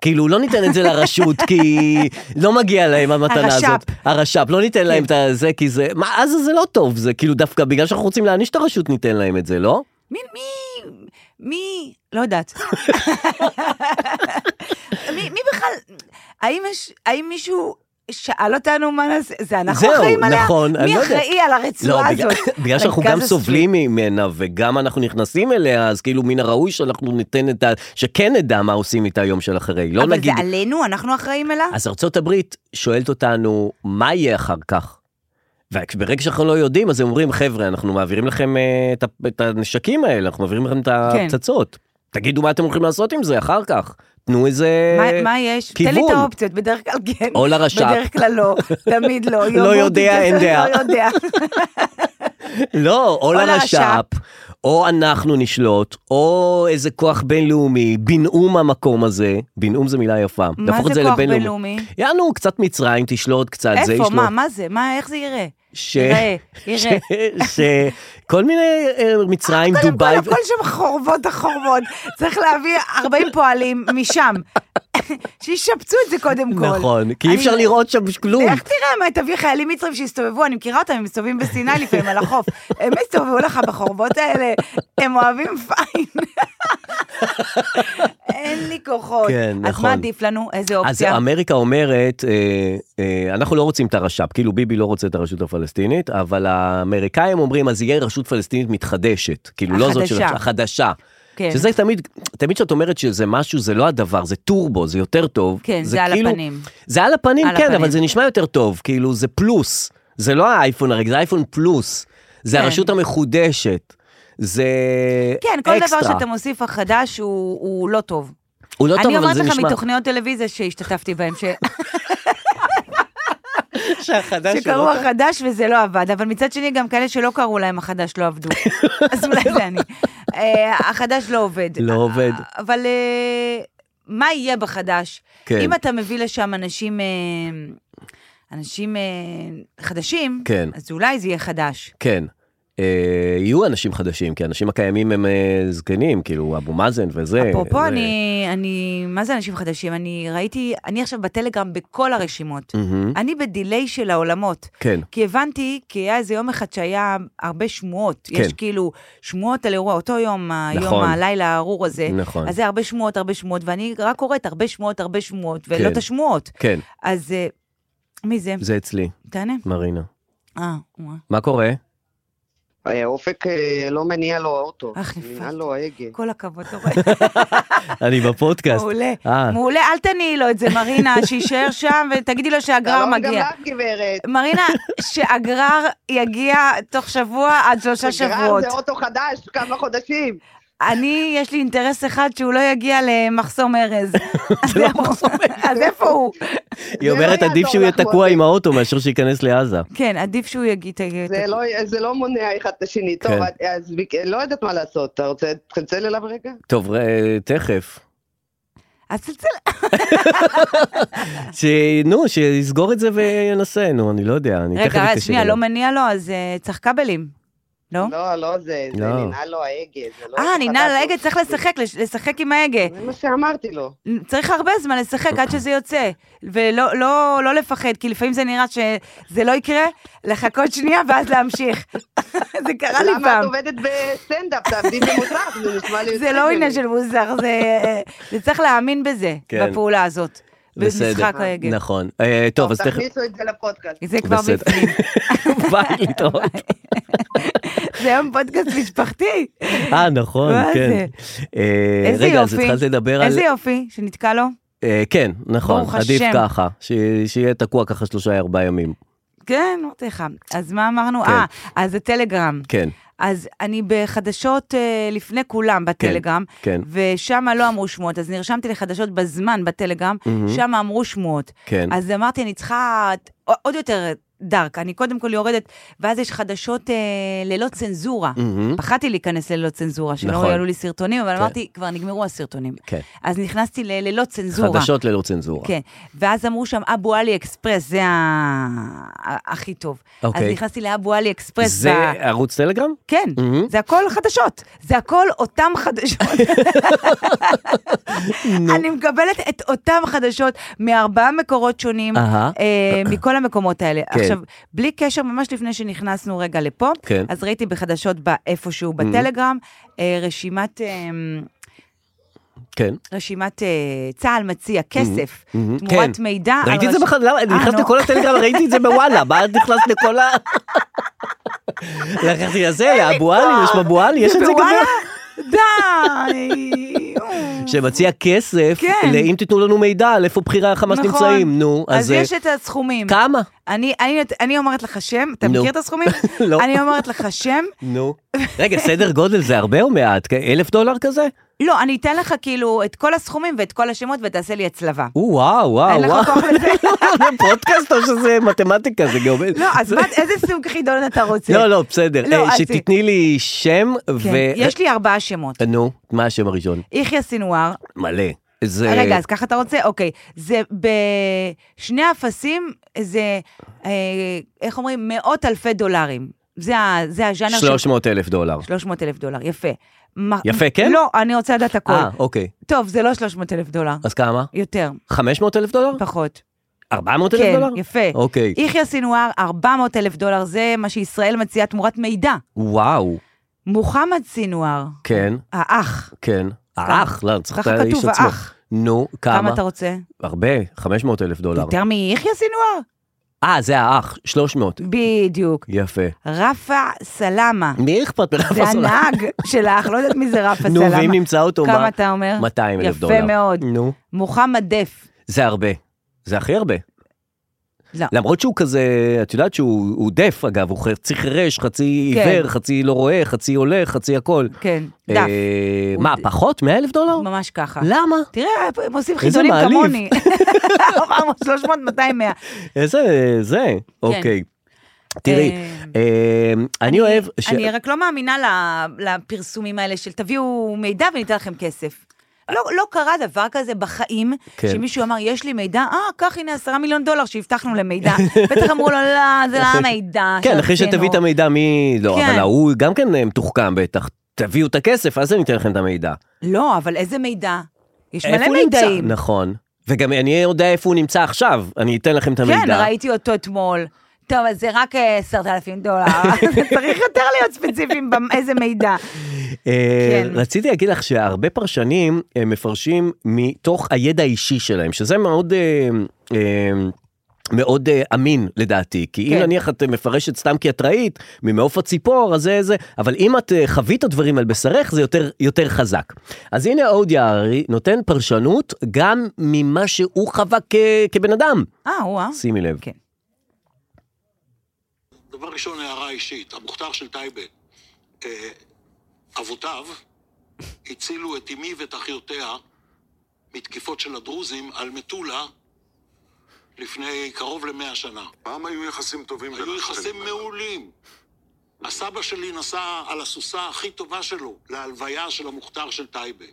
כאילו, לא ניתן את זה לרשות, כי לא מגיע להם המתנה הרש"פ. כן. הזאת. הרש"פ. לא ניתן להם את זה, כי זה... מה, עזה זה לא טוב, זה כאילו דווקא בגלל שאנחנו רוצים להעניש את הרשות, ניתן להם את זה, לא? מי, מי, מי, לא יודעת. מי, מי בכלל, האם יש, האם מישהו שאל אותנו מה נעשה, זה אנחנו זהו, אחראים עליה? נכון, אני מי לא יודעת. אחראי על לא, הרצועה בגלל- הזאת? בגלל שאנחנו מרכז גם הספרות. סובלים ממנה וגם אנחנו נכנסים אליה, אז כאילו מן הראוי שאנחנו ניתן את ה... שכן נדע מה עושים איתה יום של אחרי. לא אבל נגיד... זה עלינו, אנחנו אחראים עליה? אז ארצות הברית שואלת אותנו, מה יהיה אחר כך? וברגע שאנחנו לא יודעים, אז הם אומרים, חבר'ה, אנחנו מעבירים לכם אה, את ה- את הנשקים האלה, אנחנו מעבירים כן. לכם את הפצצות. תגידו מה אתם הולכים לעשות עם זה אחר כך. תנו איזה... מה- מה יש? תן לי אה, כיוון. את האופציות, בדרך כלל כן. או לרש"פ. בדרך כלל לא, תמיד לא. יוגורט יודע, עם אין כזה, דעה. לא יודע. לא, או לרש"פ, לרש"פ. או אנחנו נשלוט, או איזה כוח בינלאומי, בינאום המקום הזה. בינאום זה מילה יפה. מה להפוך את זה כוח לבינלאומי. בינלאומי? יענו, קצת מצרים, תשלוט קצת, זה איפה? ישלוט. מה? מה זה? מה? איך זה יראה? ש... יראה, יראה. שכל מיני אה, מצרים, קודם כל, דובאי, הכל שם חורבות החורבות. צריך להביא 40 פועלים משם. שישפצו את זה קודם כל. נכון, כי אי אני- אפשר לראות שם כלום. איך תראה, מה, תביא חיילים מצרים שיסתובבו, אני מכירה אותם, הם מסתובבים בסיני לפעמים על החוף. הם יסתובבו לך בחורבות האלה, הם אוהבים פיין. אין לי כוחות. כן, אז נכון. מה עדיף לנו? איזה אז אופציה? אמריקה אומרת, אה, אה, אנחנו לא רוצים את הרש"פ, כאילו ביבי לא רוצה את הרשות הפלסטינית, אבל האמריקאים אומרים, אז יהיה רשות פלסטינית מתחדשת, כאילו לא זאת של החדשה. החדשה. כן. שזה תמיד, תמיד כשאת אומרת שזה משהו, זה לא הדבר, זה טורבו, זה יותר טוב. כן, זה על הפנים. זה על הפנים, על כן, הפנים. אבל זה נשמע יותר טוב, כאילו זה פלוס. זה לא האייפון הרגע, זה אייפון פלוס. זה כן. הרשות המחודשת. זה כן, כל אקסטרה. דבר שאתה מוסיף החדש הוא הוא לא טוב. הוא לא טוב, אני אבל אומרת זה לך נשמע... מתוכניות טלוויזיה שהשתתפתי בהן, ש- שהחדש הוא שקראו לא- החדש וזה לא עבד, אבל מצד שני גם כאלה שלא קראו להם החדש לא עבדו. אז אולי זה אני. אה, החדש לא עובד. לא עובד. אבל אה, מה יהיה בחדש? כן. אם אתה מביא לשם אנשים... אה, אנשים אה, חדשים, כן. אז אולי זה יהיה חדש. כן. אה, יהיו אנשים חדשים, כי האנשים הקיימים הם אה, זקנים, כאילו אבו מאזן וזה. אה, אפרופו, זה- אני, אני, מה זה אנשים חדשים? אני ראיתי, אני עכשיו בטלגרם בכל הרשימות. מהמם. אני בדיליי של העולמות. כן. כי הבנתי, כי היה איזה יום אחד שהיה הרבה שמועות. כן. יש כאילו שמועות על אירוע, אותו יום, היום, נכון. הלילה הארור הזה. נכון. אז זה הרבה שמועות, הרבה שמועות, ואני רק קוראת הרבה שמועות, הרבה שמועות, ולא כן. את השמועות. כן, אז אה, מי זה? זה אצלי, תענה. מרינה. אה, וואה. מה קורה? אה, אופק אה, לא מניע לו האוטו, אך, מניע נפלתי. לו ההגה. כל הכבוד, אתה רואה. אני בפודקאסט. מעולה. אה. מעולה, אל תניעי לו את זה, מרינה, שיישאר שם ותגידי לו שהגרר שלום מגיע. לא, גם לך, גברת. מרינה, שהגרר יגיע תוך שבוע עד שלושה גרר שבועות. זה אוטו חדש, כמה חודשים. אני, יש לי אינטרס אחד שהוא לא יגיע למחסום ארז. אז לא איפה- אז איפה הוא? היא זה לא אומרת עדיף יעזור שהוא יהיה לך, תקוע מוטי. עם האוטו מאשר שייכנס לעזה. כן, עדיף שהוא יגיע. ת- זה לא, זה לא מונע אחד את השני. טוב, כן. אז ביק- לא יודעת מה לעשות. אתה רוצה לצלצל אליו רגע? טוב, אה, תכף. אז תצא, ש... נו, שיסגור את זה וינסה, נו, אני לא יודע, אני תכף רגע, רגע, אתקשר שנייה, אליו. לא מניע לו, אז אה, צריך כבלים. לא? לא, לא, זה, זה לא. ננעל לו ההגה. זה לא אה, אוטו נינא חדש. להגה, צריך לשחק, לש- לשחק עם ההגה. זה מה שאמרתי לו. צריך הרבה זמן לשחק אוקיי. עד שזה יוצא, ולא לא, לא לפחד, כי לפעמים זה נראה שזה לא יקרה, לחכות שנייה ואז להמשיך. זה קרה לי למה את פעם. עובדת בסטנדאפ? תעבדי במוסך, זה נשמע לי... זה יותר לא הגיוני. עניין של מוזר, זה, אה, זה צריך להאמין בזה, כן. בפעולה הזאת. בסדר. במשחק ההגה. נכון. אה, טוב, אז תכף... תכניסו את זה לפודקאסט. זה כבר בסדר. בפנים. ביי, להתראות. זה היום פודקאסט משפחתי. אה, נכון, מה כן. זה? אה, איזה רגע, אז יופי. התחלת לדבר על... איזה יופי שנתקע לו. אה, כן, נכון, ברוך עדיף השם. ככה, ש- שיהיה תקוע ככה שלושה ארבעה ימים. כן, אמרתי לך. אז מה אמרנו? כן. אה, אז הטלגרם. כן, אז אני בחדשות אה, לפני כולם בטלגרם, כן. ושם לא אמרו שמועות, אז נרשמתי לחדשות בזמן בטלגרם, שם אמרו שמועות. כן. אז אמרתי, אני צריכה עוד יותר דארק. אני קודם כל יורדת, ואז יש חדשות אה, ללא צנזורה. מהמם. פחדתי להיכנס לללא צנזורה, שלא Hmm? נכון. יעלו לי סרטונים, אבל כן. אמרתי, כבר נגמרו הסרטונים. כן. אז נכנסתי לללא צנזורה. חדשות ללא צנזורה. כן, ואז אמרו שם אבו עלי אקספרס, זה ה... ה- הכי טוב. אז אוקיי. נכנסתי לאבו עלי אקספרס. זה ב- ערוץ טלגרם? כן, מהמם. זה הכל חדשות, זה הכל אותם חדשות. אני מקבלת את אותם חדשות מארבעה מקורות שונים, אהה. אה, מכל המקומות האלה. כן. עכשיו, בלי קשר, ממש לפני שנכנסנו רגע לפה, כן. Mm-hmm. אז ראיתי בחדשות ב- איפשהו בטלגרם, אה, רשימת... אה, כן. רשימת אה, צה"ל מציע כסף, מהמם. תמורת Mm-hmm. כן. מידע. על ראיתי את זה רש- בכלל, למה? אני אה, נכנס נו. לכל הטלגרם, ראיתי את זה בוואלה, מה את נכנסת לכל ה... לקחתי לזה, לאבו עלי, יש באבו עלי, יש את זה גם... בוואלה? ב- די. שמציע כסף, כן. לאם תיתנו לנו מידע על איפה בכירי החמאס נכון. נמצאים, נו, אז אז יש אה, את הסכומים. כמה? אני, אני, אני אומרת לך שם, אתה נו. מכיר את הסכומים? לא. אני אומרת לך שם, נו. רגע, סדר גודל זה הרבה או מעט? כ- אלף דולר כזה? לא, אני אתן לך כאילו את כל הסכומים ואת כל השמות ותעשה לי הצלבה. או, וואו, וואו, אין לך וואו. כוח לזה. זה פודקאסט או שזה מתמטיקה, זה גם... לא, אז מה, איזה סוג חידון אתה רוצה? לא, לא, בסדר. לא, אה, אז- שתתני לי שם ו... כן, יש לי ארבעה שמות. נו, מה השם הראשון? יחיא סינואר, מלא. זה... אה, רגע, אז ככה אתה רוצה? אוקיי. זה בשני אפסים, זה, אה, איך אומרים? מאות אלפי דולרים. זה ה- זה הז'אנר של... 300 אלף דולר. 300 אלף דולר, יפה. מה- יפה, כן? לא, אני רוצה לדעת הכל. אה, אוקיי. טוב, זה לא 300 אלף דולר. אז כמה? יותר, 500 אלף דולר? פחות. 400 אלף כן, דולר? יפה. אה, אוקיי. יחיא סינואר, 400 אלף דולר, זה מה שישראל מציעה תמורת מידע. וואו. מוחמד סינואר, כן, האח, כן. האח, לא, צריך את ככה האיש כתוב, עצמו. האח. נו, כמה כמה? לא, אתה רוצה? הרבה, 500 אלף דולר. יותר מיחיא סינואר? אה, זה האח, 300. בדיוק. יפה. רפע סלמה, מי אכפת מרף זה הסולר? הנהג של האח, לא יודעת מי זה רפע נו, סלמה. ואם נמצא אותו, מה? כמה אתה אומר? 200 אלף יפה דולר. מאוד. נו. מוחמד דף, זה הרבה. זה הכי הרבה. לא. למרות שהוא כזה, את יודעת שהוא הוא דף אגב, הוא חצי חירש, חצי כן. עיוור, חצי לא רואה, חצי הולך, חצי הכל. כן, דף, אה, הוא מה, ד- פחות? 100 אלף דולר? ממש ככה. למה? תראה, הם עושים איזה חידונים מעליב. כמוני. 400, 300, 200, 100. איזה, זה, אוקיי. תראי, כן. אה, אה, אני אוהב... ש- אני רק לא מאמינה ל- לפרסומים האלה של תביאו מידע וניתן לכם כסף. לא, לא קרה דבר כזה בחיים, כן. כן. שמישהו אמר, יש לי מידע, אה, קח הנה עשרה מיליון דולר שהבטחנו למידע. בטח אמרו לו, לא, זה לא המידע כן, אחרי שרצינו." שתביא את המידע מי... לא, כן. אבל ההוא גם כן אה, מתוחכם בטח. תביאו את הכסף, אז אני אתן לכם את המידע. לא, אבל איזה מידע? יש איפה מלא הוא נמצא? מידעים. נכון. וגם אני יודע איפה הוא נמצא עכשיו, אני אתן לכם את נכון, המידע. כן, ראיתי אותו אתמול. טוב, אז זה רק אה, עשרת אלפים דולר, צריך יותר להיות ספציפיים באיזה מידע. אה, כן. רציתי להגיד לך שהרבה פרשנים אה, מפרשים מתוך הידע האישי שלהם, שזה מאוד... אה, אה, מאוד אה, אמין לדעתי, כי אם כן. נניח את אה, מפרשת סתם כי את ראית, ממעוף הציפור, אז זה זה, אבל אם את אה, חווית דברים על בשרך, זה יותר, יותר חזק. אז הנה אודי הררי נותן פרשנות גם ממה שהוא חווה כ, כבן אדם. אה, וואה. שימי לב. כן. דבר ראשון, הערה אישית. המוכתר של טייבה, אה, אבותיו הצילו את אמי ואת אחיותיה מתקיפות של הדרוזים על מטולה לפני קרוב למאה שנה. פעם היו יחסים טובים בין היו יחסים השכנים. מעולים. הסבא שלי נסע על הסוסה הכי טובה שלו להלוויה של המוכתר של טייבה.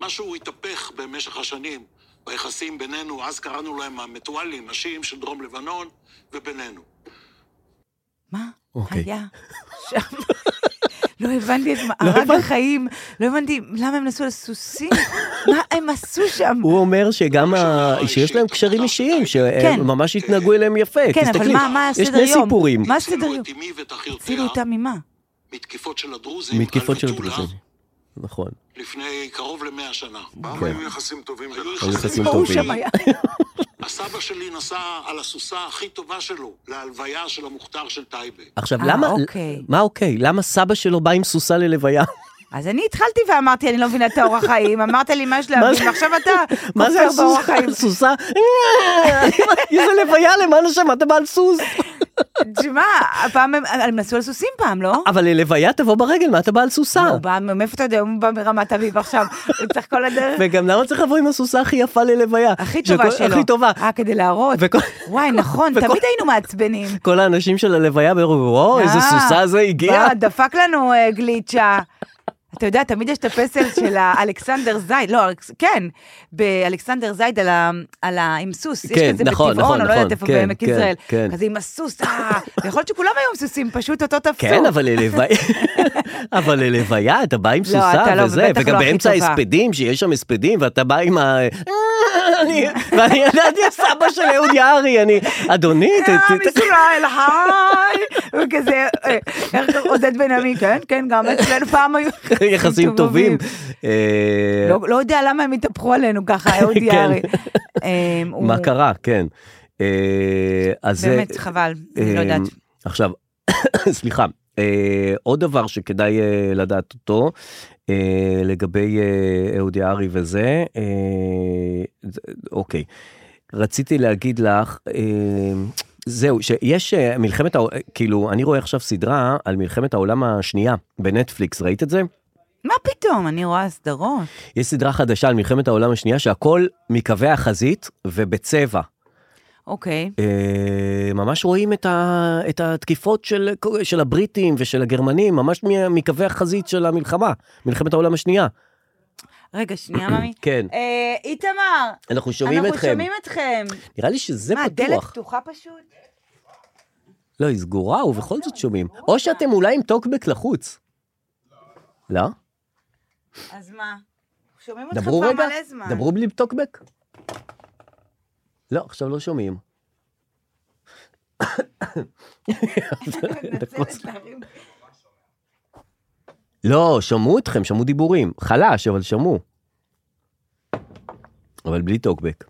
משהו התהפך במשך השנים ביחסים בינינו, אז קראנו להם המטואלים, השיעים של דרום לבנון, ובינינו. מה אוקיי. היה שם? לא הבנתי את מה, הרג החיים, לא הבנתי למה הם נסעו לסוסים, מה הם עשו שם? הוא אומר שגם ה... אישית, שיש להם קשרים אישיים, כן. שהם ממש התנהגו אליהם יפה. כן, אבל אוקיי, תסתכלי, מה- מה יש הסדר שני יום? סיפורים. מה הסדר הצילו יום? את אמי ואת אחיותיה הצילו אותם ממה? מתקיפות של הדרוזים מתקיפות על של מטולה הדרוזים. כן. נכון. לפני קרוב למאה שנה. פעם היו יחסים טובים בין היו השכנים. יחסים מה הוא טובים. שם היה? הסבא שלי נסע על הסוסה הכי טובה שלו להלוויה של המוכתר של טייבה. עכשיו, אה, למה... אוקיי. מה אוקיי? למה סבא שלו בא עם סוסה ללוויה? אז אני התחלתי ואמרתי, אני לא מבינה את האורח חיים, אמרת לי מה יש להבין, ועכשיו אתה מה אוקיי, זה כופר באורח הסוסה? חיים. הסוסה? איזה לוויה, למען השם, אתה בא על סוס? תשמע, הפעם הם הם נסעו על סוסים פעם, לא? אבל ללוויה תבוא ברגל, מה אתה בא על סוסה? הוא בא, מאיפה אתה יודע, הוא בא מרמת אביב עכשיו, הוא צריך כל הדרך. וגם למה צריך לבוא עם הסוסה הכי יפה ללוויה? הכי טובה שכל- שלו. הכי טובה. אה, כדי להראות. וכל- וואי, נכון, וכל- תמיד היינו מעצבנים. כל האנשים של הלוויה אמרו, וואו, איזה אה, סוסה זה הגיע. וואו, דפק לנו אה, גליצ'ה. אתה יודע, תמיד יש את הפסל של האלכסנדר זייד, לא, אלכס- כן, באלכסנדר זייד על ה... על ה... עם סוס. יש כן, כזה נכון, בטבעון, נכון, או לא יודעת נכון, איפה, כן, בעמק כן, יזרעאל. כן. אז עם הסוס, אה, ויכול להיות שכולם היו עם סוסים, פשוט אותו תפסו. כן, אבל ללוויה, אבל ללוויה, אתה בא עם לא, סוסה אתה לא, וזה, ובטח וגם לא הכי באמצע טובה. ההספדים, שיש שם הספדים, ואתה בא עם ה... אני- ואני ידעתי, הסבא של אהוד יערי, אני, אדוני, ת- עם ת- ת- ישראל, אה, היי! וכזה, אה, איך קוראים? עודד בן עמי, כן, כן, גם אצלנו פעם היו יחסים טובים. אה, לא- לא יודע למה הם התהפכו עלינו ככה, אהוד כן. יערי. אה, הוא- מה קרה, כן. אה, אז זה- באמת, חבל, אני לא אה, יודעת. עכשיו, סליחה, אה, עוד דבר שכדאי אה, לדעת אותו, אה, לגבי אה, אהוד יערי וזה, אה, זה- אוקיי. רציתי להגיד לך, אה, זהו, שיש אה, מלחמת, העו- אה, כאילו, אני רואה עכשיו סדרה על מלחמת העולם השנייה בנטפליקס, ראית את זה? מה פתאום, אני רואה סדרות. יש סדרה חדשה על מלחמת העולם השנייה שהכל מקווי החזית ובצבע. אוקיי. אה, ממש רואים את, ה, את התקיפות של, של הבריטים ושל הגרמנים, ממש מ- מקווי החזית של המלחמה, מלחמת העולם השנייה. רגע, שנייה, ממי. כן, אה, איתמר, אנחנו שומעים אנחנו אתכם. שומעים אתכם. נראה לי שזה מה, הדלת פתוח. פתוחה פשוט? לא, היא סגורה ובכל זאת שומעים. או שאתם אולי עם טוקבק לחוץ. לא? אז מה? שומעים אותך דברו כבר רגע, מלא זמן. דברו בלי טוקבק. לא, עכשיו לא שומעים. מתנצלת, להרים. אה, לא, שמעו אתכם, שמעו דיבורים. חלש, אבל שמעו. אבל בלי טוקבק.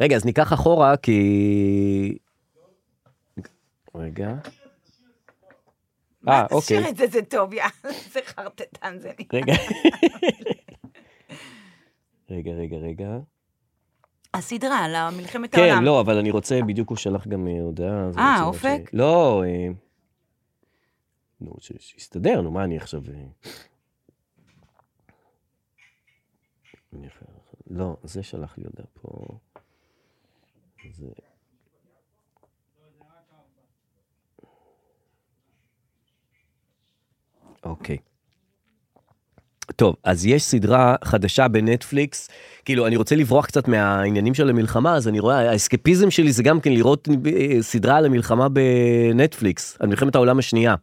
רגע, אז ניקח אחורה, כי... רגע. אה, שיר אוקיי. את זה, זה טוב, יאללה, זה חרטטן זה נהיה. רגע. רגע, רגע, רגע. הסדרה על מלחמת העולם. כן, לא, אבל אני רוצה, בדיוק הוא שלח גם אה, הודעה. אז אני אה, רוצה לדעת אופק? ש- לא, אה, נו, ש- שיסתדר, נו, מה אני עכשיו... אה, אני אחר- לא, זה שלח לי הודעה פה. זה... אוקיי. טוב, אז יש סדרה חדשה בנטפליקס, כאילו, אני רוצה לברוח קצת מהעניינים של המלחמה, אז אני רואה, האסקפיזם שלי זה גם כן לראות אה, סדרה על המלחמה בנטפליקס, על מלחמת העולם השנייה.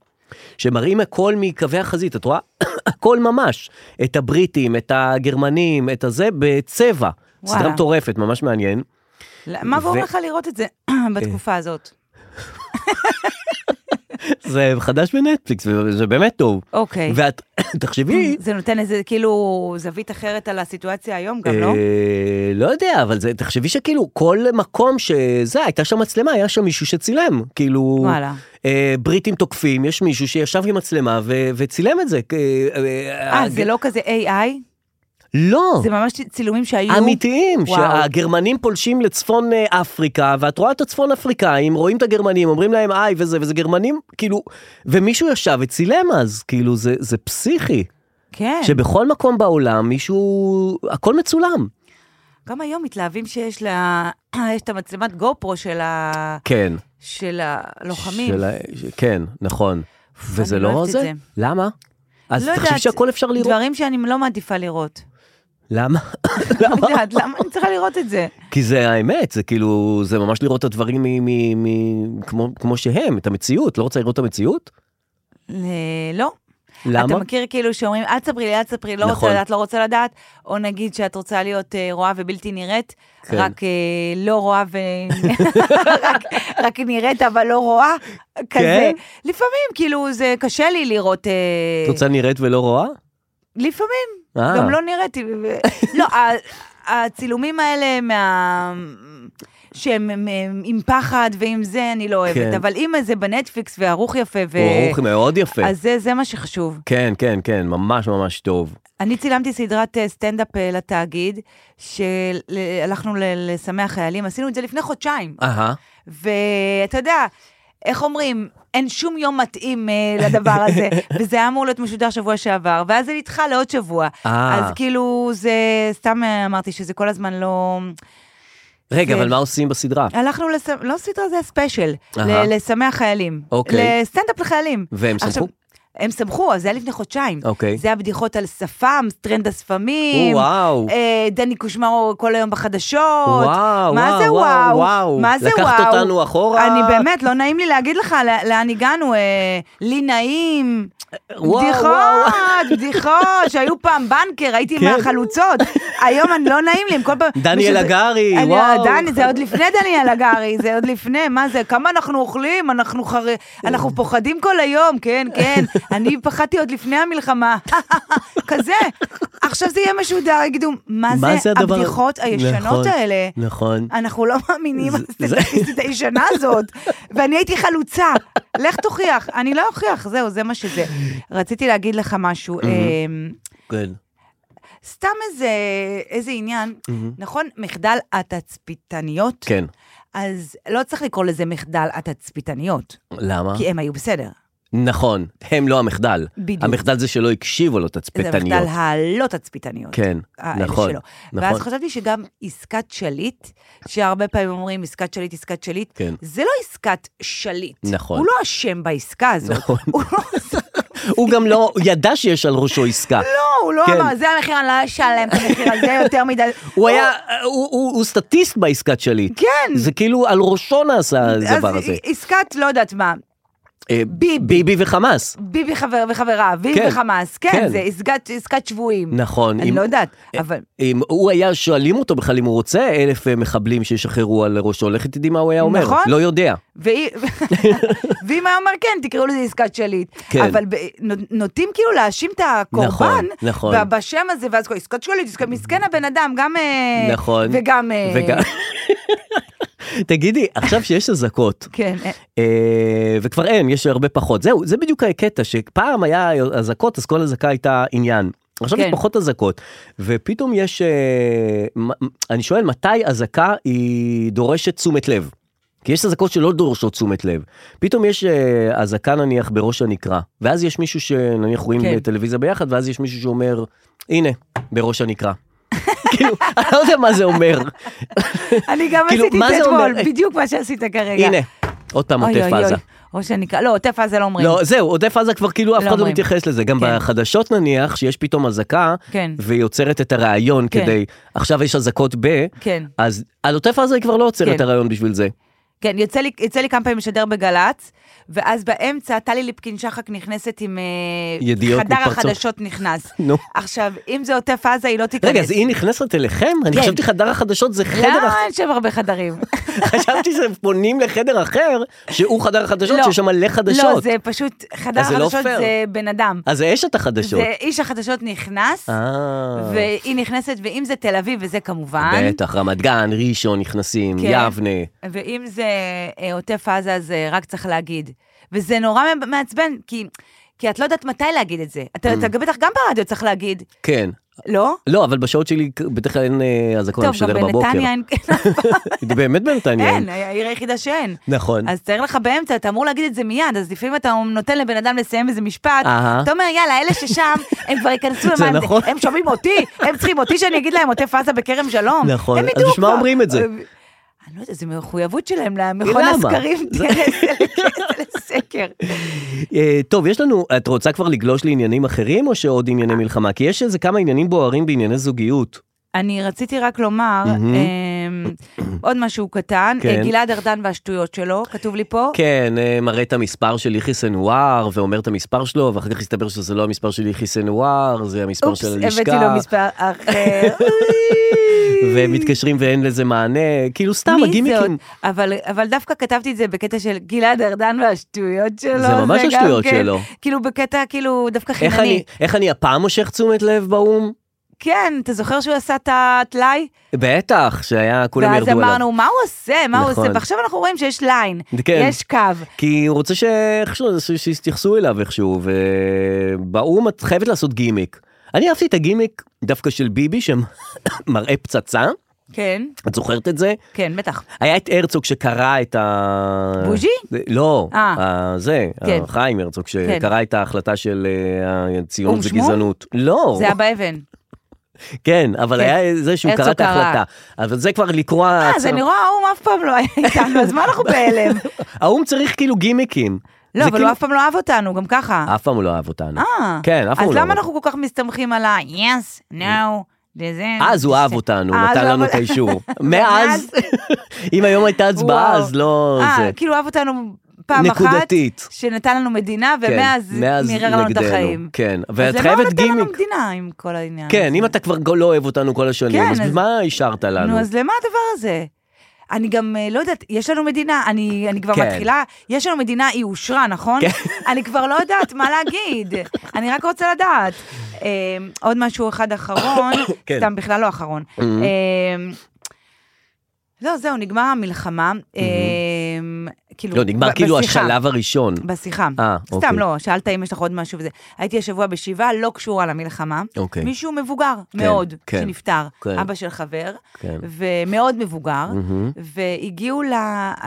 שמראים הכל מקווי החזית, את רואה? הכל ממש. את הבריטים, את הגרמנים, את הזה, בצבע. וואלה. סדרה מטורפת, ממש מעניין. לא, מה גורם ו- לך לראות את זה בתקופה הזאת? זה חדש בנטפליקס, וזה באמת טוב. אוקיי. ואת, תחשבי, זה נותן איזה כאילו זווית אחרת על הסיטואציה היום גם, לא? אה, לא יודע, אבל זה, תחשבי שכאילו כל מקום שזה, הייתה שם מצלמה, היה שם מישהו שצילם. כאילו... וואלה. אה, בריטים תוקפים, יש מישהו שישב עם מצלמה ו- וצילם את זה. אה, אה, זה לא כזה AI? לא. זה ממש צילומים שהיו... אמיתיים, וואו. שהגרמנים פולשים לצפון אה, אפריקה, ואת רואה את הצפון אפריקאים, רואים את הגרמנים, אומרים להם היי וזה, וזה גרמנים, כאילו, ומישהו ישב וצילם אז, כאילו, זה, זה פסיכי, כן. שבכל מקום בעולם מישהו, הכל מצולם. גם היום מתלהבים שיש לה... יש את המצלמת גו פרו של ה... כן. של הלוחמים. של ה- ש- כן, נכון. וזה אני לא לא אוהבת את זה? זה. למה? אז לא תחשבי יודעת, שהכל אפשר לראות. דברים שאני לא מעדיפה לראות. למה? לא יודעת, למה אני צריכה לראות את זה? כי זה האמת, זה כאילו, זה ממש לראות את הדברים מ- מ- מ- כמו- כמו שהם, את המציאות, לא רוצה לראות את המציאות? אה, לא. למה? אתה מכיר כאילו שאומרים, אל תספרי לי, אל תספרי, לי, לא נכון. רוצה לדעת, לא רוצה לדעת, או נגיד שאת רוצה להיות אה, רואה ובלתי נראית, כן. רק אה, לא רואה ו... רק- רק נראית אבל לא רואה, כזה. כן? לפעמים, כאילו, זה קשה לי לראות... אה, את רוצה נראית ולא רואה? לפעמים, אה. גם לא נראיתי. ו- ו- לא, ה- הצילומים האלה מה... שהם הם- הם עם פחד ועם זה, אני לא אוהבת. כן. אבל אם זה בנטפליקס וערוך יפה, ו... הוא ערוך אוקיי, מאוד יפה. אז זה, זה מה שחשוב. כן, כן, כן, ממש ממש טוב. אני צילמתי סדרת אה, סטנדאפ אה, לתאגיד, שהלכנו ל- לשמח חיילים, עשינו את זה לפני חודשיים. אהה. ואתה יודע, איך אומרים, אין שום יום מתאים אה, לדבר הזה, וזה היה אמור להיות משודר שבוע שעבר, ואז זה נדחה לעוד שבוע. אה. אז כאילו, זה, סתם אה, אמרתי שזה כל הזמן לא... רגע, זה- אבל מה עושים בסדרה? הלכנו, לס... לא סדרה, זה הספיישל, אהה. ל- לשמח חיילים. אוקיי. לסטנדאפ לחיילים. והם עכשיו, שמחו? הם שמחו, אז זה היה לפני חודשיים. אוקיי. זה הבדיחות על שפם, טרנד השפמים. וואו. אה, דני קושמרו כל היום בחדשות. וואו, מה וואו, זה וואו, וואו? וואו. מה זה לקחת וואו? אותנו אחורה. אני באמת, לא נעים לי להגיד לך ל- לאן הגענו. אה, לי נעים. אה, וואו, בדיחות, בדיחות, שהיו פעם בנקר, הייתי כן. מהחלוצות. היום אני לא נעים לי, הם כל פעם... דניאל מישהו- הגרי, אני- אה, וואו. דני, זה עוד לפני דניאל הגרי, זה עוד לפני, מה זה, כמה אנחנו אוכלים, אנחנו חר... אנחנו פוחדים כל היום, כן, כן. אני פחדתי עוד לפני המלחמה. כזה. עכשיו זה יהיה משודר, יגידו, מה זה הדבר- הבדיחות הישנות נכון, האלה? נכון. אנחנו לא מאמינים על זה- הסטטיסטית הישנה הזאת, ואני הייתי חלוצה. לך תוכיח, אני לא אוכיח, זהו, זה מה שזה. רציתי להגיד לך משהו, אמ, כן. סתם איזה, איזה עניין, מהמם. נכון, מחדל התצפיתניות? כן. אז לא צריך לקרוא לזה מחדל התצפיתניות, למה? כי הם היו בסדר. נכון, הם לא המחדל. בדיוק. המחדל זה שלא הקשיבו לו זה תצפיתניות. המחדל הלא תצפיתניות. כן, האלה נכון, שלו. ואז נכון. חשבתי שגם עסקת שליט, שהרבה פעמים אומרים עסקת שליט, עסקת שליט, כן. זה לא עסקת שליט. נכון. הוא לא אשם בעסקה הזאת. נכון. הוא לא הוא גם לא ידע שיש על ראשו עסקה. לא, הוא לא כן. אמר, זה המחיר, אני לא אשלם את המחיר הזה יותר מדי. הוא היה, הוא- הוא הוא סטטיסט בעסקת שליט. כן. זה כאילו על ראשו נעשה הדבר הזה. אז עסקת, לא יודעת מה, אה, ביבי. ביבי וחמאס. ביבי חבר וחבריו, ביבי כן. וחמאס, כן, כן. זה עסקת- עסקת שבויים. נכון. אני אם- לא יודעת, אבל... אם הוא היה, שואלים אותו בכלל אם הוא רוצה אלף אה, מחבלים שישחררו על ראשו, לך תדעי מה הוא היה אומר. נכון. לא יודע. והיא- ואם היה אומר כן, תקראו לזה עסקת שליט. כן. אבל ב- נו- נוטים כאילו להאשים את הקורבן, נכון, נכון. ב- בשם הזה, ואז כל עסקת שליט, עסקת- מסכן הבן אדם, גם... אה, נכון. וגם... אה, וגם- תגידי, עכשיו שיש אזעקות, כן, אה, אה, וכבר אין, יש הרבה פחות. זהו, זה בדיוק הקטע, שפעם היה אזעקות, אז כל אזעקה הייתה עניין. עכשיו כן. יש פחות אזעקות, ופתאום יש... אה, מ- אני שואל, מתי אזעקה היא דורשת תשומת לב? כי יש אזעקות שלא דורשות תשומת לב. פתאום יש אה, אזעקה נניח בראש הנקרה, ואז יש מישהו שנניח רואים כן. כן. טלוויזיה ביחד, ואז יש מישהו שאומר, הנה, בראש הנקרה. כאילו, אני לא יודע מה זה אומר. אני גם כאילו, עשיתי מה את זה זה אומר? אתמול, בדיוק מה שעשית כרגע. הנה, עוד פעם אוי, עוטף אוי, עזה. אוי. או שנקרא, לא, עוטף עזה לא אומרים. לא, זהו, עוטף עזה כבר כאילו אף לא אחד לא אומרים. מתייחס לזה. גם כן. בחדשות נניח, שיש פתאום אזעקה, כן. והיא עוצרת את הרעיון כן. כדי, עכשיו יש אזעקות ב, כן. אז על עוטף עזה היא כבר לא עוצרת את כן. הרעיון בשביל זה. כן, יוצא לי, יוצא לי כמה פעמים לשדר בגל"צ, ואז באמצע טלי ליפקין שחק נכנסת עם... אה, ידיעות חדר מתפרצות. החדשות נכנס. נו. עכשיו, אם זה עוטף עזה, היא לא תיכנס. רגע, אז היא נכנסת אליכם? אני כן. חשבתי חדר החדשות זה חדר לא, אחר. אין שם הרבה חדרים. חשבתי שפונים לחדר אחר, שהוא חדר החדשות, לא. שיש שם מלא לא, חדשות. זה פשוט, חדר אז זה לא החדשות פייר. זה בן אדם. אז זה אשת החדשות. זה איש החדשות נכנס, אה, והיא נכנסת, ואם זה תל אביב, וזה כמובן. בטח, רמת גן, ראשון נכנסים, כן. יבנה. ואם זה אה, עוטף עזה, אז אה, רק צריך להגיד. וזה נורא מ- מעצבן, כי... כי את לא יודעת מתי להגיד את זה. אה. אתה, אתה בטח גם ברדיו צריך להגיד, כן. לא? לא, אבל בשעות שלי בדרך כלל אין אה, אזעקות, אני טוב, גם משדר בבוקר. בנתניה אין, באמת בנתניה אין, העיר היחידה שאין. נכון. אז צריך לך באמצע, אתה אמור להגיד את זה מיד, אז לפעמים אתה נותן לבן אדם לסיים איזה משפט, אהה. אתה אומר, יאללה, אלה ששם, הם כבר ייכנסו, זה הם- נכון. הם שומעים אותי, הם צריכים אותי שאני אגיד להם עוטף עזה בכרם שלום. נכון. הם אז ידעו בשביל מה כבר. אומרים את זה? אה, אני לא יודעת, זו מחויבות שלהם למכון למה? הסקרים, זה- תראה, לסקר. אה, טוב, יש לנו, את רוצה כבר לגלוש לעניינים אחרים או שעוד ענייני מלחמה? כי יש איזה כמה עניינים בוערים בענייני זוגיות. אני רציתי רק לומר, מהמם. אה, עוד משהו קטן, כן. אה, גלעד ארדן והשטויות שלו, כתוב לי פה. כן, אה, מראה את המספר של יחיא סנוואר ואומר את המספר שלו, ואחר כך הסתבר שזה לא המספר של יחיא סנוואר, זה המספר אופס, של הבאתי לו הלשכה. מספר אחר. ומתקשרים ואין לזה מענה, כאילו סתם מי זה הגימיקים. עוד? אבל, אבל דווקא כתבתי את זה בקטע של גלעד ארדן והשטויות שלו. זה ממש גם השטויות כן, שלו. כאילו בקטע כאילו דווקא חינני. איך אני, איך אני הפעם מושך תשומת לב באו"ם? כן, אתה זוכר שהוא עשה את הטלאי? בטח, שהיה, כולם ואז ירדו עליו. אמרנו, מה הוא עושה? מה הוא נכון. עושה? ועכשיו אנחנו רואים שיש ליין, כן. יש קו. כי הוא רוצה שאיכשהו, ש- שיתייחסו אליו איכשהו, ובאו"ם את חייבת לעשות גימיק. אני אהבתי את הגימיק דווקא של ביבי שמראה פצצה, כן. את זוכרת את זה? כן, בטח. היה את הרצוג שקרא את ה... בוז'י? לא, אה. ה- זה, כן. חיים הרצוג, שקרא את ההחלטה של אה, או"ם ציונות שמום? וגזענות. לא. זה היה באבן. כן, אבל כן. היה זה שהוא הרצוג קרא את קרא. ההחלטה. אבל זה כבר לקרוע... אה, זה נראה האו"ם אף פעם לא היה איתנו, אז מה אנחנו בהלם? האו"ם צריך כאילו גימיקים. לא, זה אבל כאילו- הוא אף פעם לא אהב אותנו, גם ככה. אף פעם הוא לא אהב אותנו. אה. כן, אף פעם הוא אז לא למה אהב אנחנו כל כך מסתמכים על ה... yes, no, this is... אז הוא אהב אותנו, הוא אה, אז נתן הוא לנו אהב- את האישור. מאז, אם היום הייתה הצבעה, וואו. אז לא אה, זה. כאילו אהב אותנו פעם אחת. נקודתית. שנתן לנו מדינה, כן, ומאז מאז מירר לנו את נגדנו, החיים. כן, אז ואת למה לא הוא חייבת נתן לנו גימיק. מדינה עם כל העניין? כן, אם אתה כבר לא אוהב אותנו כל השנים, כן, אז אז- מה השארת לנו? נו, אז למה הדבר הזה? אני גם אה, לא יודעת, יש לנו מדינה, אני, אני כבר כן. מתחילה, יש לנו מדינה, היא אושרה, נכון? אני כבר לא יודעת מה להגיד, אני רק רוצה לדעת. אה, עוד משהו אחד אחרון, כן. סתם בכלל לא אחרון. Mhm. אה, לא, זהו, נגמר המלחמה. אה, כאילו, Mm-hmm. לא, נגמר ב- כאילו בשיחה. השלב הראשון. בשיחה. אה, אוקיי. סתם, לא, שאלת אם יש לך עוד משהו וזה. הייתי השבוע בשבעה, לא קשורה למלחמה. אוקיי. מישהו מבוגר כן, מאוד, כן, שנפטר. כן. אבא של חבר, כן. ומאוד מבוגר, מהמם. והגיעו ל...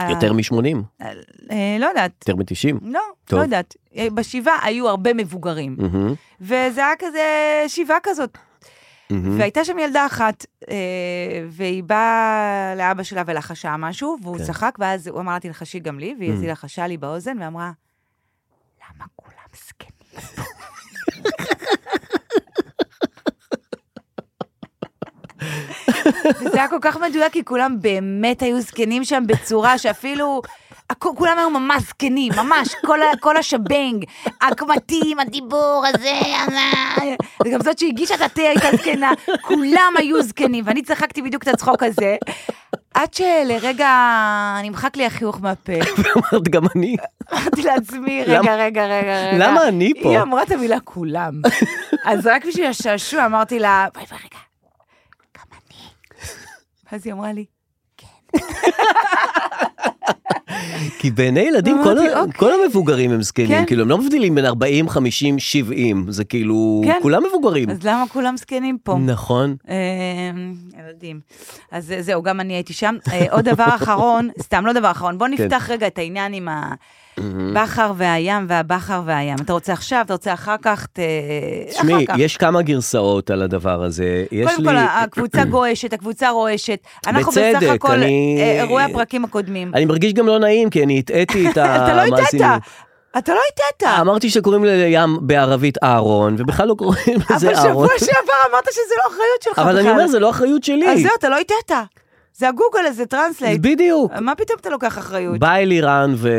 יותר מ-80, אה, לא יודעת. יותר מ-90. לא, טוב. לא יודעת. אה, בשבעה היו הרבה מבוגרים. וזה היה כזה שבעה כזאת. והייתה שם ילדה אחת, אה, והיא באה לאבא שלה ולחשה משהו, והוא כן. צחק, ואז הוא אמר לה, תלחשי גם לי, והיא Mm. אז היא לחשה לי באוזן ואמרה, למה כולם זקנים פה?" וזה היה כל כך מדויק, כי כולם באמת היו זקנים שם בצורה שאפילו... הכ- כולם היו ממש זקנים, ממש, כל, ה- כל השבנג, הקמטים, הדיבור הזה, הזה. וגם זאת שהגישה את התה הייתה זקנה, כולם היו זקנים, ואני צחקתי בדיוק את הצחוק הזה, עד שלרגע נמחק לי החיוך מהפה. אמרת גם אני. אמרתי לעצמי, רגע, למה- רגע, רגע, רגע. למה אני פה? היא אמרה את המילה כולם. אז רק בשביל השעשוע אמרתי לה, בואי, בואי, רגע, גם אני. ואז היא אמרה לי, כי בעיני ילדים כל ה- אמרתי, אוקיי. כל המבוגרים הם כן. זקנים, כאילו הם לא מבדילים בין 40, 50, 70, זה כאילו, כן. כולם מבוגרים. אז לא. למה כולם זקנים פה? נכון. אמ, ילדים. אז אה, זהו, גם אני הייתי שם. אה, עוד דבר אחרון, סתם לא דבר אחרון, כן. בוא נפתח רגע את העניין עם הבכר והים והבכר והים. אתה רוצה עכשיו, אתה רוצה אחר כך, ת- אחר תשמעי, כך. יש כמה גרסאות על הדבר הזה. יש קודם כל, לי- הקבוצה גועשת, הקבוצה רועשת. אנחנו בסך בצדק, הכל אני- אה, אירועי הפרקים הקודמים. אני מרגיש גם לא נעים, כי אני הטעיתי את ה... אתה לא מה הטעת, עשינו. אתה לא הטעת. אמרתי שקוראים לים בערבית אהרון, ובכלל לא קוראים לזה אבל אהרון. שבוע שעבר אמרת שזה לא אחריות שלך בכלל. אבל אני אומר, זה לא אחריות שלי. אז זהו, אתה לא הטעת. זה הגוגל הזה, טרנסלייט. בדיוק. מה פתאום אתה לוקח אחריות? בא אלירן ו...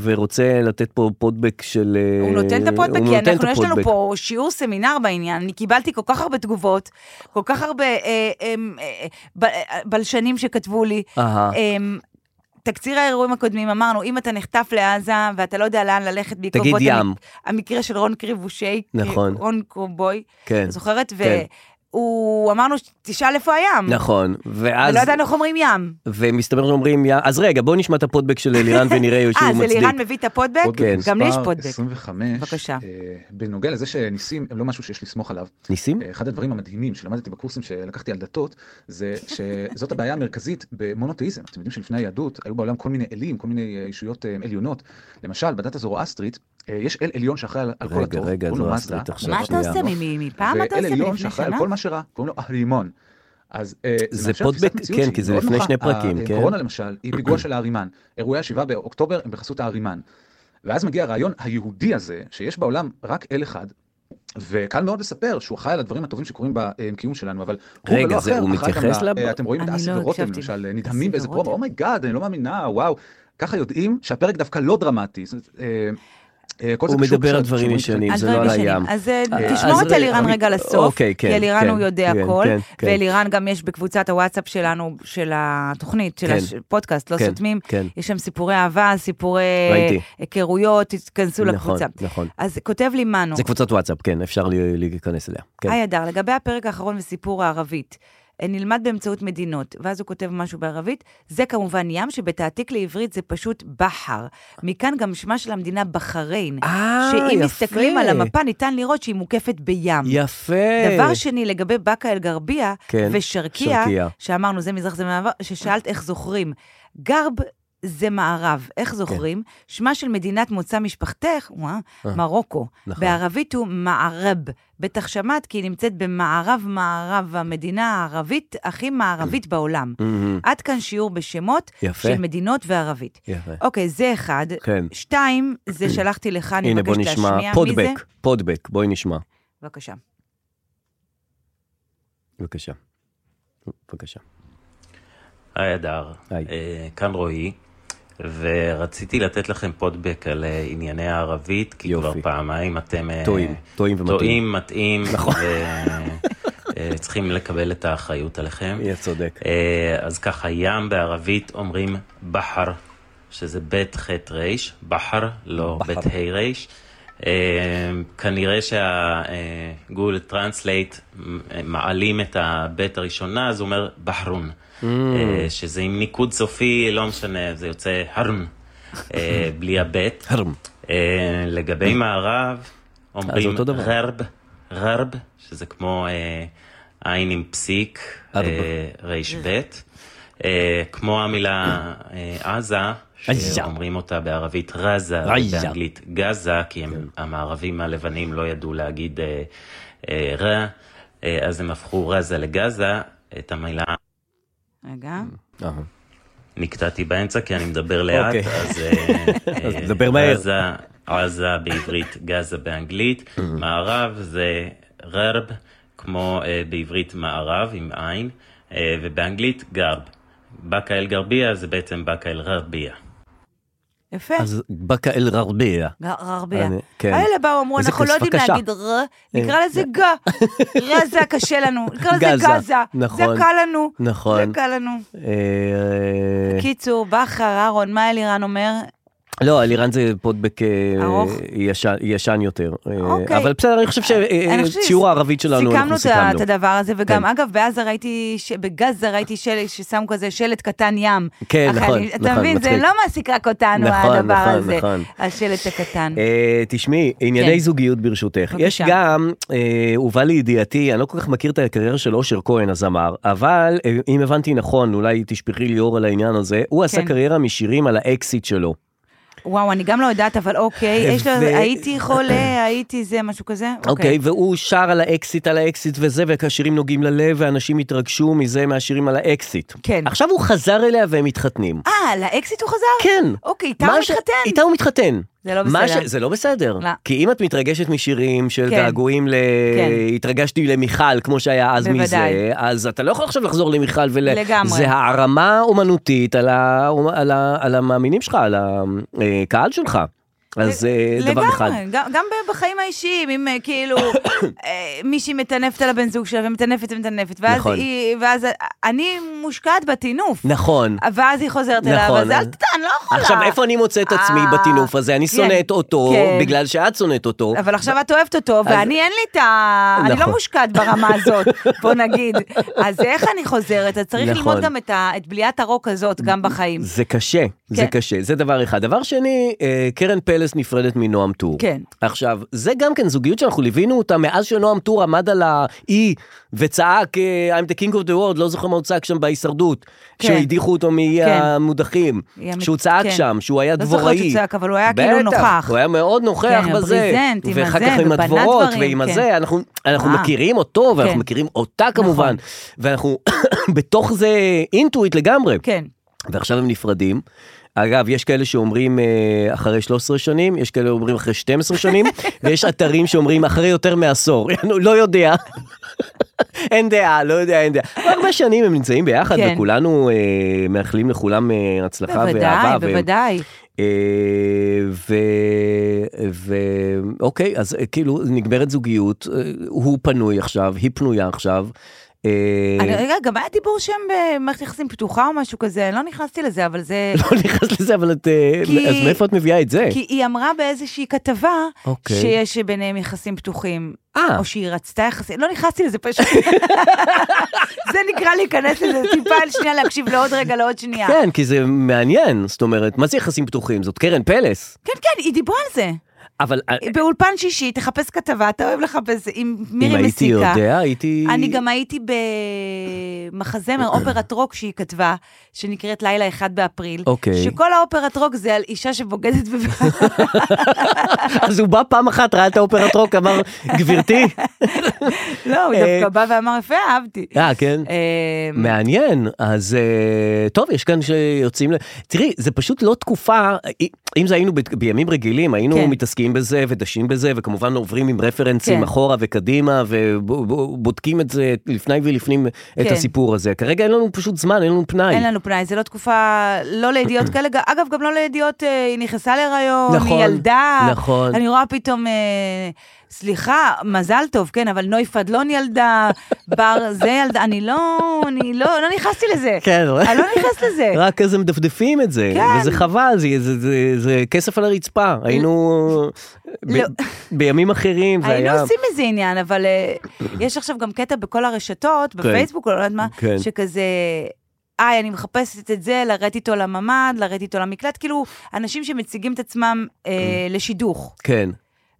ורוצה לתת פה פודבק של... אה, הוא נותן את הפודבק, הוא כי נותן את אנחנו, יש לנו הפודבק. פה שיעור סמינר בעניין. אני קיבלתי כל כך הרבה תגובות, כל כך הרבה אה, אה, אה, ב- אה, בלשנים שכתבו לי. אהה. אה, תקציר האירועים הקודמים, אמרנו, אם אתה נחטף לעזה ואתה לא יודע לאן ללכת בעקבות תגיד המק- ים. המקרה של רון קריבושי, נכון. רון קרובוי, כן. זוכרת? כן. והוא, אמרנו, תשאל איפה הים. נכון, ואז... ולא לא ידענו איך אומרים ים. ומסתבר שאומרים, "יא-" אז רגע, בואו נשמע את הפודבק של אלירן ונראה שהוא מצדיק. אה, זה לירן מביא את הפודבק? כן. גם לי יש מספר פודבק. 25, בבקשה. אה, בנוגע לזה שניסים הם לא משהו שיש לסמוך עליו. ניסים? אה, אחד הדברים המדהימים שלמדתי בקורסים שלקחתי על דתות, זה שזאת הבעיה המרכזית במונותאיזם. אתם יודעים שלפני היהדות היו בעולם כל מיני אלים, כל מיני אה, ישויות אה, עליונות. למשל, בדת הזורואסטרית, אה, יש אל עליון שאחראי על על כל רגע, הטוב. רגע, קוראים לו זורואסטרית מזדה. עכשיו, מה אתה שנייה. עושה? מ- מפעם אתה ואל עושה? עליון מלפני שאחראי על שנה? לא כל מה שרע, קוראים לו אהרימון. אז אה, זה מאפשר תפיסת פודבק, מציאות כן, שהיא כי זה מאוד לפני נוחה. שני אה, פרקים, כן. הקורונה למשל היא פיגוע של הארימן. אירועי השבעה באוקטובר הם בחסות הארימן. ואז מגיע הרעיון היהודי הזה, שיש בעולם רק אל אחד, וקל מאוד לספר שהוא אחראי על הדברים הטובים שקורים בקיום שלנו, אבל הוא רגע, ולא זה- אחר, הוא אחראי גם מתייחס ל- לב- אה, אתם רואים את אני אסי לא ורותם הקשבתי. למשל, אה, אסי נדהמים באיזה פרומו, ורותם. אומייגאד, אני לא מאמינה, וואו. ככה יודעים שהפרק דווקא לא דרמטי. זאת אומרת, אה, אה, כל זה הוא קשור מדבר על כשאומרים דברים את ישנים, על זה לא דברים על ישנים. הים. אז אה, אה, תשמור אז את אלירן אני- רגע לסוף, אוקיי, כי כן, אלירן כן, הוא יודע כן, הכל, כן, כן. ואלירן גם יש בקבוצת הוואטסאפ שלנו, של התוכנית, של כן. הפודקאסט, לא כן, סותמים, כן. יש שם סיפורי אהבה, סיפורי ראיתי. היכרויות, תיכנסו נכון, לקבוצה. נכון. אז כותב לי מנו, אה, זה קבוצת וואטסאפ, כן, אפשר לי- להיכנס אליה. כן. היי הדר, לגבי הפרק האחרון וסיפור הערבית, אה, נלמד באמצעות מדינות. ואז הוא כותב משהו בערבית, זה כמובן ים, שבתעתיק לעברית זה פשוט בחר. מכאן גם שמה של המדינה בחריין. אה, שאם יפה. מסתכלים על המפה, ניתן לראות שהיא מוקפת בים. יפה. דבר שני, לגבי באקה אל-גרבייה כן, ושרקיה, שרקיה. שאמרנו, זה מזרח, זה מערב, ששאלת איך זוכרים. גרב זה מערב, איך כן. זוכרים? שמה של מדינת מוצא משפחתך, וואה, אה, מרוקו. נכון. בערבית הוא מערב. בטח שמעת כי היא נמצאת במערב-מערב, המדינה הערבית הכי מערבית בעולם. מהמם. עד כאן שיעור בשמות יפה. של מדינות וערבית. יפה. אוקיי, זה אחד. כן. שתיים, זה שלחתי לך, אני הנה, מבקשת בוא להשמיע. נשמע. מי זה? פודבק, פודבק, בואי נשמע. בבקשה. בבקשה. בבקשה. היי הדר, אה, כאן רועי, ורציתי לתת לכם פודבק על אה, ענייני הערבית, כי כבר פעמיים אתם... אה, טועים, טועים ומטעים. טועים, מטעים, נכון. וצריכים לקבל את האחריות עליכם. אה, יהיה צודק. אז ככה, ים בערבית אומרים בחר, שזה בית ח' ר', בחר, לא בחר. בית ה' ר'. אה, כנראה שהגול טרנסלייט אה, מעלים את הבית הראשונה, אז הוא אומר בחרון. Mm. אה, שזה עם ניקוד סופי, לא משנה, זה יוצא הרם, אה, בלי הבט. הרם. לגבי מערב, אה, זה אומרים אותו דבר. ררב, ררב, שזה כמו אה, עין עם פסיק, ארבע. אה, ריש בית. אה, כמו המילה אה, עזה, עזה. שאומרים אותה בערבית רזה, עזה. באנגלית גזה, כי הם, המערבים הלבנים לא ידעו להגיד אה, אה, רע, אה, אז הם הפכו רזה לגזה, את המילה רגע. אה. נקטעתי באמצע כי אני מדבר לאט, אוקיי. אז... אה, אז אה, דבר מהר. עזה, עזה בעברית, גזה באנגלית, Mm-hmm. מערב זה ררב, כמו אה, בעברית מערב עם עין, אה, ובאנגלית גרב. באקה אל גרבייה זה בעצם באקה אל ררבייה. יפה. אז באקה אל ררבייה. גרבייה. אני- כן. האלה באו, אמרו, איזה אנחנו לא יודעים קשה. להגיד ר, נקרא לזה ג. ר זה קשה לנו, נקרא לזה גזה. גזה. נכון. זה קל לנו. נכון. זה קל לנו. אה, קיצור, בכר, אהרון, מה אלירן אומר? לא, אלירן זה פודבק אה, ארוך? ישן- ישן יותר. אה, אוקיי. אבל בסדר, אני חושב אה, אני חושבת ששיעור הערבית שלנו, סיכמנו אנחנו את ה- סיכמנו. את הדבר הזה, וגם, כן. אגב, בעזה ראיתי, ש- בגזה ראיתי שלט ששם כזה שלט קטן ים. כן, אחי, נכון, אני- נכון, אתה מבין, זה מצחיק. לא מעסיק רק אותנו, נכון, הדבר נכון, הזה. נכון. השלט הקטן. אה, תשמעי, ענייני כן. זוגיות ברשותך. בבקשה. יש גם, אה, הובא לידיעתי, אני לא כל כך מכיר את הקריירה של אושר כהן הזמר, אבל אה, אם הבנתי נכון, אולי תשפכי לי אור על העניין הזה, הוא עשה כן. קריירה משירים על האקסיט שלו. וואו, אני גם לא יודעת, אבל אוקיי, יש לו, אה, ו- אה. הייתי חולה, הייתי זה, משהו כזה. אוקיי, והוא שר על האקסיט, על האקסיט וזה, והשירים נוגעים ללב, ואנשים התרגשו מזה, מהשירים על האקסיט. כן. עכשיו הוא חזר אליה והם מתחתנים. אה, לאקסיט הוא חזר? כן. אוקיי, איתה הוא מה ש- מתחתן. איתה הוא מתחתן. זה לא מה בסדר. ש... זה לא בסדר. לא. כי אם את מתרגשת משירים של כן. געגועים ל... כן. התרגשתי למיכל, כמו שהיה אז בוודאי. מזה, אז אתה לא יכול עכשיו לחזור למיכל ול... לגמרי. זה הערמה אומנותית על, ה... על, ה... על המאמינים שלך, על הקהל שלך. אז אה, דבר אחד. לגמרי, גם- גם ב- בחיים האישיים, אם אה, כאילו אה, מישהי מטנפת על הבן זוג שלה ומטנפת ומטנפת, ואז נכון. היא, ואז אה, אני מושקעת בטינוף. נכון. ואז היא חוזרת אליו, נכון. אז אל תדע, אני לא יכולה. עכשיו, איפה אני מוצא את עצמי אה, בטינוף הזה? אני כן, שונאת אותו כן. בגלל שאת שונאת אותו. אבל עכשיו את אוהבת אותו, אז- ואני אין לי את ה... אני לא נכון. מושקעת ברמה הזאת, בוא נגיד. אז איך אני חוזרת? אז צריך נכון. ללמוד גם את ה- את בליית הרוק הזאת גם בחיים. זה קשה, כן. זה כן. קשה, זה דבר אחד. דבר שני, אה, קרן פלס נפרדת מנועם טור. כן. עכשיו, זה גם כן זוגיות שאנחנו ליווינו אותה מאז שנועם טור עמד על האי וצעק, אה, I'm the king of the world, לא זוכר מה הוא צעק שם בהישרדות. כן. שהדיחו אותו מאי כן. המודחים. היא המ- שהוא צעק כן. שם, שהוא היה לא דבוראי. זוכרת שהוא צעק, אבל הוא היה כאילו בטח, נוכח. הוא היה מאוד נוכח כן, בזה. הברזנט, עם ואחר הזה, כך עם ובנה הדבורות דברים, ועם כן. הזה, אנחנו, אנחנו אה. מכירים אותו, ואנחנו כן. מכירים אותה כמובן. ואנחנו בתוך זה אינטואיט לגמרי. כן. ועכשיו הם נפרדים. אגב, יש כאלה שאומרים אה, אחרי 13 שנים, יש כאלה שאומרים אחרי 12 שנים, ויש אתרים שאומרים אחרי יותר מעשור. אני לא יודע. אין דעה, לא יודע, אין דעה. כבר הרבה שנים הם נמצאים ביחד, כן. וכולנו אה, מאחלים לכולם אה, הצלחה בוודאי, ואהבה. והם- בוודאי. אה, ו... ו... אוקיי, אז אה, כאילו נגמרת זוגיות, אה, הוא פנוי עכשיו, היא פנויה עכשיו. אה, אני, רגע, גם היה דיבור שם במערכת יחסים פתוחה או משהו כזה, לא נכנסתי לזה, אבל זה... לא נכנס לזה, אבל את... אה, כי- אז מאיפה את מביאה את זה? כי היא אמרה באיזושהי כתבה, לא. אוקיי. שיש ביניהם יחסים פתוחים. אה. או שהיא רצתה יחסים, לא נכנסתי לזה פשוט. זה נקרא להיכנס לזה טיפה על שנייה, להקשיב לעוד רגע, לעוד שנייה. כן, כי זה מעניין, זאת אומרת, מה זה יחסים פתוחים? זאת קרן פלס. כן, כן, היא דיברה על זה. אבל אה, באולפן שישי, תחפש כתבה, אתה אוהב לחפש עם אם מירי הייתי מסיקה. יודע, הייתי... אני גם הייתי אוקיי. במחזמר, אופרת רוק שהיא כתבה, שנקראת לילה אחד באפריל. אוקיי. שכל האופרת רוק זה על אישה שבוגדת בב... אז הוא בא פעם אחת, ראה את האופרת רוק, אמר, גברתי. לא, הוא אה, דווקא בא ואמר, יפה, אהבתי. אה, כן? אה, מעניין, אז אה, טוב, יש כאן שיוצאים ל... תראי, זה פשוט לא תקופה, אי- אם זה היינו ב- בימים רגילים, היינו כן. מתעסקים בזה ודשים בזה, וכמובן עוברים עם רפרנסים כן. אחורה וקדימה, ובודקים את זה לפני ולפנים, את כן. הסיפור הזה. כרגע אין לנו פשוט זמן, אין לנו פנאי. אין לנו פנאי, זה לא תקופה, לא לידיעות כאלה, ג- אגב, גם לא לידיעות, אה, היא נכנסה להיריון, נכון, היא ילדה, נכון. אני רואה פתאום, אה, סליחה, מזל טוב, כן, אבל נוי פדלון ילדה, בר זה ילדה, אני לא, אני לא, לא נכנסתי לזה. כן, אני לא נכנסת לזה. רק אז הם מדפדפים את זה, כן. וזה חבל, זה, זה, זה, זה כסף על הרצפה. היינו ב, לא. בימים אחרים, זה היינו היה... עושים מזה עניין, אבל אה, יש עכשיו גם קטע בכל הרשתות, בפייסבוק, לא יודעת מה, כן. שכזה... איי, אני מחפשת את זה, לרדת איתו לממ"ד, לרדת איתו למקלט, כאילו, אנשים שמציגים את עצמם אה, לשידוך. כן,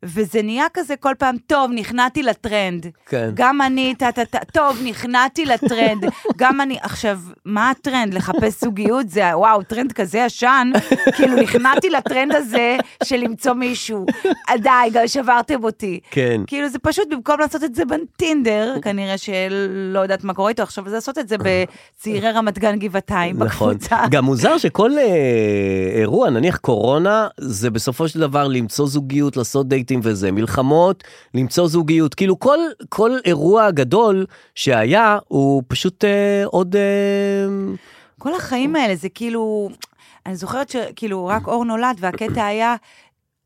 וזה נהיה כזה כל פעם, טוב, נכנעתי לטרנד. כן. גם אני, טה טה טה, טוב, נכנעתי לטרנד. גם אני, עכשיו, מה הטרנד? לחפש זוגיות? זה, וואו, טרנד כזה ישן, כאילו, נכנעתי לטרנד הזה של למצוא מישהו. אה, די, גם שברתם אותי. כן. כאילו, זה פשוט, במקום לעשות את זה בטינדר, כנראה שלא יודעת מה קורה איתו עכשיו, אז לעשות את זה בצעירי רמת גן גבעתיים, נכון. בקבוצה. גם מוזר שכל אה, אירוע, נניח קורונה, זה בסופו של דבר למצוא זוגיות, לעשות דייטים וזה, מלחמות, למצוא זוגיות. כאילו כל, כל אירוע גדול שהיה, הוא פשוט אה, עוד... אה, כל החיים האלה, זה כאילו... אני זוכרת שכאילו רק אור נולד, והקטע היה,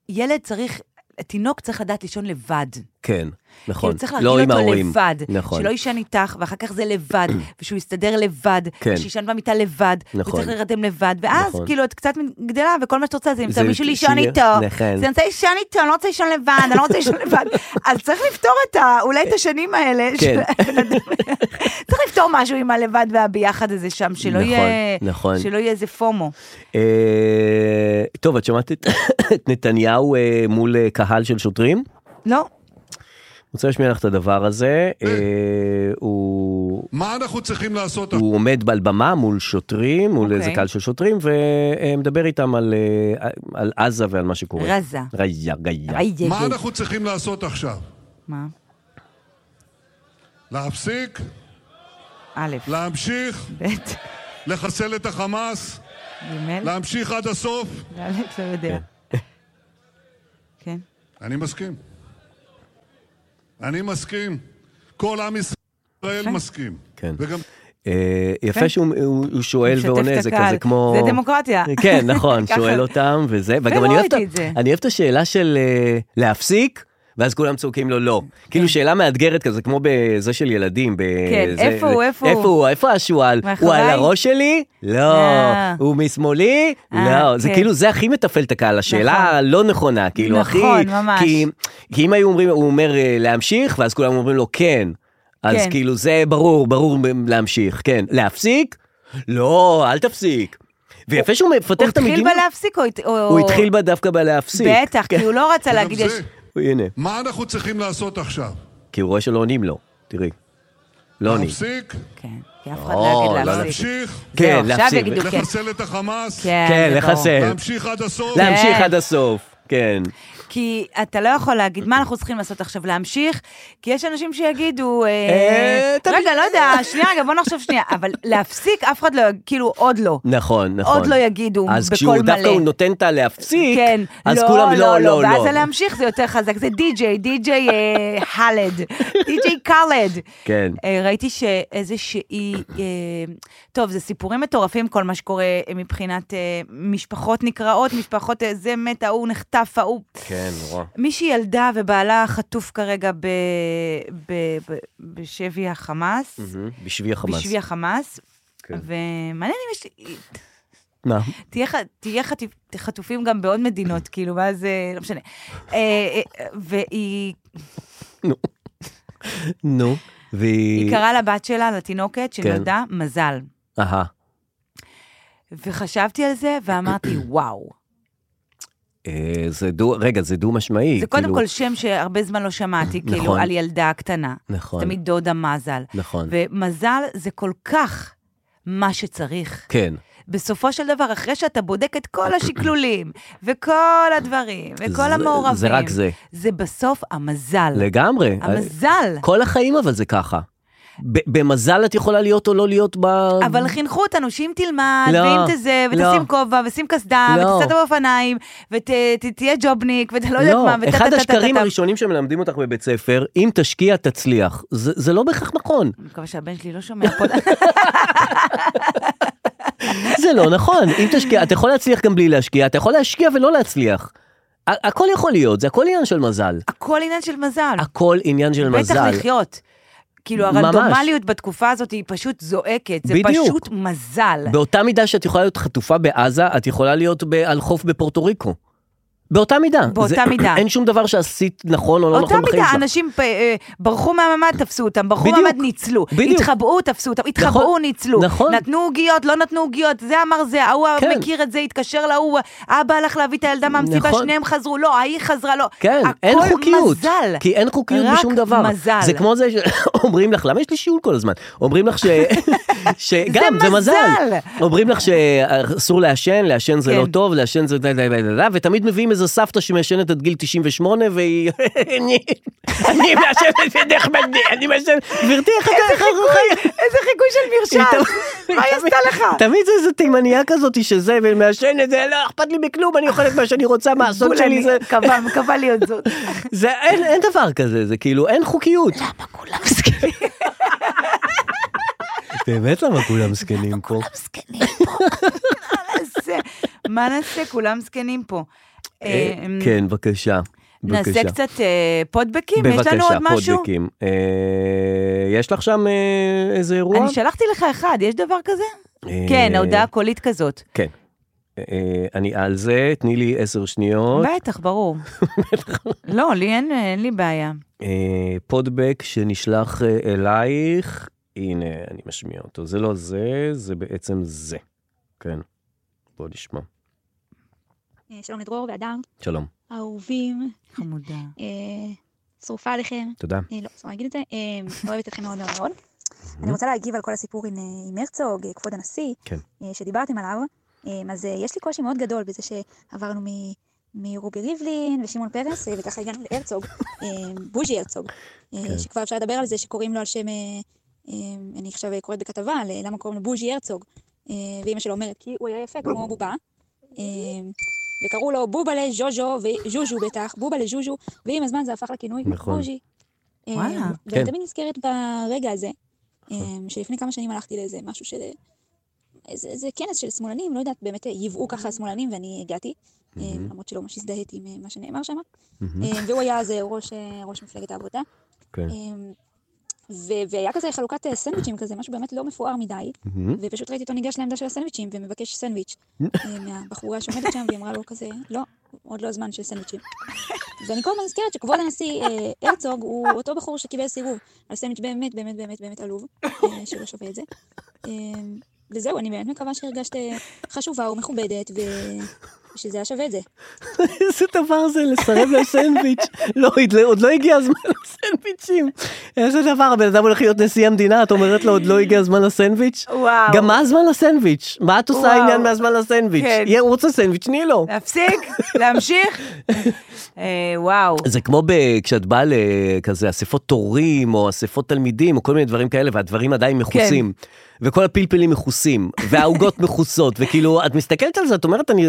ילד צריך, תינוק צריך לדעת לישון לבד. כן, נכון. כאילו צריך לא להרגיל עם אותו ההורים. לבד. נכון. שלא יישן איתך, ואחר כך זה לבד, ושהוא יסתדר לבד, כן. ושישן במיטה לבד, נכון. וצריך להירדם לבד, ואז נכון. כאילו את קצת גדלה, וכל מה שאת רוצה זה למצוא זה מישהו לישון שיהיה- איתו. נכון. אז אני רוצה לישון איתו, אני לא רוצה לישון לבד, אני לא רוצה לישון לבד. אז צריך לפתור את ה... אולי את השנים האלה. כן. של- צריך לפתור משהו עם הלבד והביחד הזה שם, שלא נכון, יהיה... נכון. שלא יהיה איזה פומו. אה, טוב, את שמעת את את נתניהו אה, מול אה, קהל של שוטרים? לא. רוצה להשמיע לך את הדבר הזה. אה, הוא... מה אנחנו צריכים לעשות? הוא עומד על במה מול שוטרים, מול אוקיי. איזה קהל של שוטרים, ומדבר איתם על, אה, על עזה ועל מה שקורה. רזה. ריה, גיה. מה אנחנו צריכים לעשות עכשיו? מה? להפסיק? א'. לא. להמשיך? ב'. לחסל את החמאס? ג'. להמשיך עד הסוף? לא יודע. כן. אני מסכים. אני מסכים. כל עם ישראל מסכים. כן. וגם אה, כן. יפה שהוא הוא- הוא שואל משתף ועונה, את זה הקהל. כזה כמו... זה דמוקרטיה. כן, נכון, ככה. שואל אותם וזה, וגם ולא אני אוהב ראיתי את את זה. ה- אני אוהב את השאלה של אה, להפסיק. ואז כולם צועקים לו לא. כאילו שאלה מאתגרת כזה, כמו בזה של ילדים. ב- כן, זה- איפה הוא, איפה הוא? איפה הוא? איפה השועל? הוא מאחוריי? על הראש שלי? לא. אה. הוא משמאלי? אה, לא. זה כן. כאילו, זה הכי מתפעל את הקהל, השאלה הלא נכונה, כאילו, הכי... נכון, ממש. כי- כי אם היו אומרים, הוא אומר אה, להמשיך, ואז כולם אומרים לו כן. אז כן. כאילו זה ברור, ברור להמשיך, כן. להפסיק? לא, אל תפסיק. ויפה שהוא מפתח הוא את המדינה. התחיל בלהפסיק או... הת- או- הוא התחיל בה- דווקא בלהפסיק. כן, בטח, כי הוא לא רצה וגם להגיד... זה. יש- הנה, מה אנחנו צריכים לעשות עכשיו? כי הוא רואה שלא עונים לו, תראי. לא עונים. להפסיק? כן, כי אף אחד לא יגיד לא, להפסיק. להמשיך? כן, זהו, עכשיו להפסיק. יגידו כן. לחסל את החמאס? "אה, כן, לא-" לחסל. להמשיך עד הסוף? להמשיך עד הסוף, כן. כי אתה לא יכול להגיד מה אנחנו צריכים לעשות עכשיו, להמשיך, כי יש אנשים שיגידו, אה, אה, רגע, לא יודע, שנייה, רגע, בוא נחשוב שנייה, אבל להפסיק, אף אחד לא, יג- כאילו, עוד לא. נכון, נכון. עוד לא יגידו אז בקול כשהוא מלא. דווקא הוא נותן את הלהפסיק, כן, אז כולם לא, לא, לא. ואז הלהמשיך זה יותר חזק, זה די-ג'יי, די-ג'יי אה, חאלד, די-ג'יי קאלד. כן. אה, ראיתי שאיזושהי... אה, טוב, זה סיפורים מטורפים, כל מה שקורה אה, מבחינת אה, משפחות נקרעות, משפחות אה, זה מת, ההוא נחטף, ההוא... כן. כן, נורא. מישהי ילדה ובעלה חטוף כרגע ב- ב- ב- בשבי החמאס. מהמם. בשבי החמאס. בשבי החמאס. כן. ומעניין אם יש... לי- מה? תהיה, ח- תהיה חטיפ- חטופים גם בעוד מדינות, כאילו, ואז... אה, לא משנה. אה, אה, והיא נו, היא והיא... קראה לבת שלה, לתינוקת, כן. שנולדה, מזל. אהה. וחשבתי על זה, ואמרתי, וואו. אה, זה דו... רגע, זה דו-משמעי. זה קודם כאילו- כל שם שהרבה זמן לא שמעתי, כאילו, נכון. על ילדה קטנה. נכון. תמיד דודה מזל. נכון. ומזל זה כל כך מה שצריך. כן. בסופו של דבר, אחרי שאתה בודק את כל השקלולים, וכל הדברים, וכל זה- המעורבים, זה רק זה. זה בסוף המזל. לגמרי. המזל. כל החיים אבל זה ככה. ב- במזל את יכולה להיות או לא להיות ב... אבל חינכו אותנו שאם תלמד, לא, ואם תזה, לא. ותשים כובע, ושים קסדה, לא. ותסע את האופניים, ותהיה ג'ובניק, ואתה לא יודעת לא, מה, אחד וטה-טה-טה-טה-טה. השקרים הראשונים שמלמדים אותך בבית ספר, אם תשקיע תצליח. זה זה לא בהכרח נכון. אני מקווה שהבן שלי לא שומע פה. זה לא נכון. אם תשקיע, אתה יכול להצליח גם בלי להשקיע, אתה יכול להשקיע ולא להצליח. ה- הכל יכול להיות, זה הכל עניין של מזל. הכל עניין של מזל. הכל עניין של מזל. אה. בטח לחיות. כאילו, ממש. הרנדומליות בתקופה הזאת היא פשוט זועקת. זה בדיוק. פשוט מזל. באותה מידה שאת יכולה להיות חטופה בעזה, את יכולה להיות ב- על חוף בפורטו ריקו. באותה מידה. באותה זה- מידה. אין שום דבר שעשית נכון או לא אותה נכון בחיים מידה, שלך. אנשים פ- אה, ברחו מהממ"ד, תפסו אותם, ברחו בדיוק. מהממ"ד, ניצלו. בדיוק. התחבאו, תפסו אותם, התחבאו, נכון. ניצלו. נכון. נתנו עוגיות, לא נתנו עוגיות, זה אמר זה, ההוא כן. מכיר את זה, התקשר להוא, אבא הלך להביא את הילדה מהמסיבה, נכון. שניהם חזרו, לא, ההיא חזרה, לא. כן, אין הכל חוקיות. מזל. כי אין חוקיות רק בשום דבר. מזל. זה כמו זה שאומרים לך, למה יש לי שיעול כל הזמן? אומרים לך ש... שגם, זה זה מזל. מזל. אומרים לך שאסור לעשן, לעשן זה כן. לא טוב, לעשן זה... דה, דה, דה, דה, דה, ותמיד מביאים איזו סבתא שמעשנת עד גיל 98 והיא... אני אני מעשנת את נחמדי, אני מעשנת... גברתי, איך את... איך את- איזה חיקוי של מרשם. לא- מה היא עשתה לך? תמיד זה איזה תימניה כזאת שזה, ומעשן את זה, לא אכפת לי מכלום, אני אוכלת מה שאני רוצה, מה הסוד שלי זה... קבע, קבע לי עוד זאת. זה אין, אין דבר כזה, זה כאילו אין חוקיות. למה כולם זקנים? באמת למה כולם זקנים פה? מה נעשה? מה נעשה? כולם זקנים פה. אה, כן, בבקשה. נעשה בבקשה. קצת אה, פודבקים? יש לנו בבקשה, עוד משהו? פודבקים. אה, יש לך שם אה, איזה אירוע? אני שלחתי לך אחד, יש דבר כזה? אה, כן, ההודעה קולית כזאת. כן. אה, אני על זה, תני לי עשר שניות. בטח, ברור. לא, לי אין, אין לי בעיה. אה, פודבק שנשלח אה, אלייך, הנה, אני משמיע אותו. זה לא זה, זה בעצם זה. כן, בוא נשמע. אה, שלום לדרור ואדם, שלום. אהובים. חמודה. אה, שרופה עליכם. תודה. אה, לא, אסור להגיד את זה. אה, אוהבת אתכם מאוד מאוד מאוד. אני רוצה להגיב על כל הסיפור עם, אה, עם הרצוג, אה, כבוד הנשיא, כן. אה, שדיברתם עליו. אה, אז אה, יש לי קושי מאוד גדול בזה שעברנו מ... מרובי ריבלין ושמעון פרס, אה, וככה הגענו להרצוג, אה, בוז'י הרצוג, אה, כן. שכבר אפשר לדבר על זה שקוראים לו על שם, אה, אה, אני עכשיו קוראת בכתבה, על, אה, למה קוראים לו בוז'י הרצוג, אה, ואימא שלו אומרת, כי הוא היה יפה כמו בובה, אה, וקראו לו בובלה ז'וז'ו וז'וז'ו בטח, בובלה ז'וז'ו, ועם הזמן זה הפך לכינוי נכון. בוז'י. אה, וואלה. כן. ואני תמיד נזכרת ברגע הזה, אה, שלפני כמה שנים הלכתי לאיזה משהו של... איזה, איזה כנס של שמאלנים, לא יודעת, באמת ייבאו ככה שמאלנים ואני הגעתי, אה, מהמם. למרות שלא ממש הזדהיתי עם אה, מה שנאמר שם. מהמם. אה, והוא היה אז אה, ראש, אה, ראש מפלגת העבודה. כן. אה, ו- והיה כזה חלוקת אה, סנדוויצ'ים כזה, משהו באמת לא מפואר מדי, מהמם. ופשוט ראיתי אותו ניגש לעמדה של הסנדוויצ'ים ומבקש סנדוויץ' אה, מהבחורה שעומדת שם, והיא אמרה לו כזה, לא, עוד לא הזמן של סנדוויצ'ים. ואני כל הזמן נזכרת שכבוד הנשיא אה, הרצוג הוא אותו בחור שקיבל סיבוב על סנדוויץ' באמת באמת באמת באמת עלוב, אה, שלא שווה את זה. אה, וזהו, אני באמת מקווה שהרגשת אה, חשובה ומכובדת, ו- ושזה היה שווה את זה. איזה דבר זה לסרב לסנדוויץ'. לא, עוד לא הגיע הזמן לסנדוויצ'ים. איזה דבר, הבן אדם הולך להיות נשיא המדינה, את אומרת לו, עוד לא הגיע הזמן לסנדוויץ'? וואו. גם מה הזמן לסנדוויץ'? מה את עושה וואו. העניין מהזמן לסנדוויץ'? כן. יהיה, הוא רוצה סנדוויץ', תני לו. להפסיק? להמשיך? אה, וואו. זה כמו ב- כשאת באה לכזה אספות תורים, או אספות תלמידים, או כל מיני דברים כאלה, והדברים עדיין מכוסים. כן. וכל הפלפלים מכוסים, והעוגות מכוסות, וכאילו, את מסתכלת על זה, את אומרת, אני...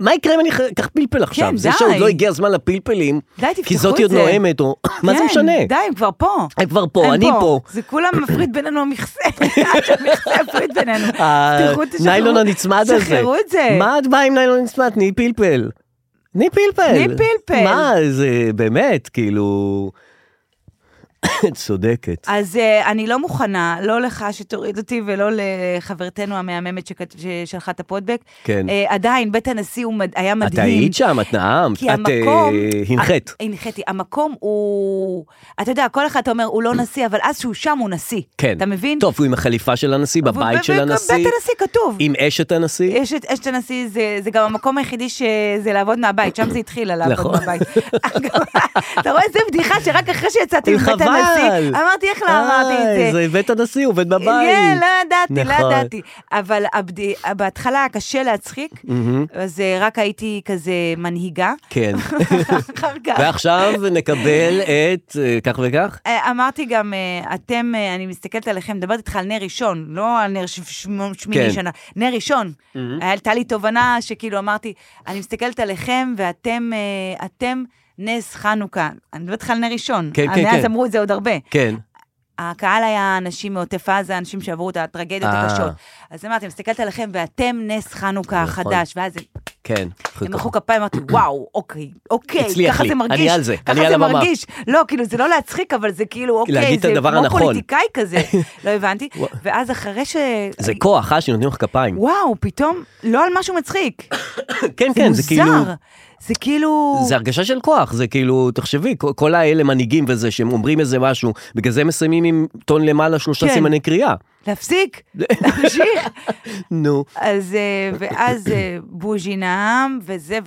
מה יקרה אם אני אח- אקח פלפל עכשיו? זה כן, די. שעוד לא הגיע הזמן לפלפלים, די, תפתחו כי את זאתי עוד זה. נואמת, או... מה זה כן, משנה? די, הם כבר פה. הם כבר פה, הם אני פה. זה כולם מפריד בינינו המכסה, המכסה הפריד בינינו. תפתחו, תשחררו- הניילון אה, הנצמד הזה. שחררו את זה. מה את באה עם ניילון נצמד? תני פלפל. ני פלפל. ני פלפל. מה, זה באמת, כאילו... צודקת. אז אה, אני לא מוכנה, לא לך שתוריד אותי ולא לחברתנו המהממת שכת- ששלחה את הפודבק. כן. אה, עדיין, בית הנשיא הוא מד- היה מדהים. את היית שם, את נאמת, כי את אה, המקום... אה, הנחית. ה- הנחיתי. המקום הוא... אתה יודע, כל אחד אומר, הוא לא נשיא, אבל אז שהוא שם הוא נשיא. כן. אתה מבין? טוב, הוא עם החליפה של הנשיא, ו- ו- בבית של הנשיא. בית הנשיא כתוב. עם אשת הנשיא. יש את אשת הנשיא, זה, זה גם המקום היחידי שזה לעבוד מהבית, שם זה התחיל, לעבוד נכון. מהבית. אתה רואה, זו בדיחה שרק אחרי שיצאתי מבית חבל. הנשיא, אמרתי, איך לא אמרתי את אה, זה? זה בית הנשיא, עובד בבית. כן, לא ידעתי, לא נכון. ידעתי. אבל הבד- בהתחלה היה קשה להצחיק, מהמם. אז אה, רק הייתי כזה מנהיגה. כן. אחר כך. ועכשיו נקבל את אה, כך וכך. אה, אמרתי גם, אה, אתם, אה, אני מסתכלת עליכם, מדברת איתך על נר ראשון, לא על נר ש- ש- שמיני כן. שנה, נר ראשון. מהמם. הייתה לי תובנה שכאילו אמרתי, אני מסתכלת עליכם ואתם אה, אתם נס חנוכה. אני מדברת איתך על נר ראשון. אה, כן, כן, מאז כן. אמרו את זה עוד הרבה. כן. הקהל היה אנשים מעוטף עזה, אנשים שעברו את הטרגדיות אה. הקשות. אז אמרתי, אני מסתכלת עליכם ואתם נס נכון. חנוכה החדש, ואז הם- כן. הם מחאו כפיים, אמרתי, וואו, אוקיי, אוקיי, הצליח ככה לי, זה אני מרגיש. על זה, ככה אני על זה הבמה. מרגיש. לא, כאילו, זה לא להצחיק, אבל זה כאילו, אוקיי, להגיד את זה הדבר כמו הנכון. פוליטיקאי כזה. לא הבנתי. וואו. ואז אחרי ש... זה כוח, אה, שנותנים לך כפיים. וואו, פתאום, לא על משהו מצחיק. כן, כן, זה כאילו... מוזר. זה כאילו... זה הרגשה של כוח, זה כאילו, תחשבי, כל- כל האלה מנהיגים וזה, שהם אומרים איזה משהו, בגלל זה הם מסיימים עם טון למעלה שלושה כן. סימני קריאה. להפסיק, להמשיך. נו. אז, אה, ואז אה, בוז'י נאם, וזה,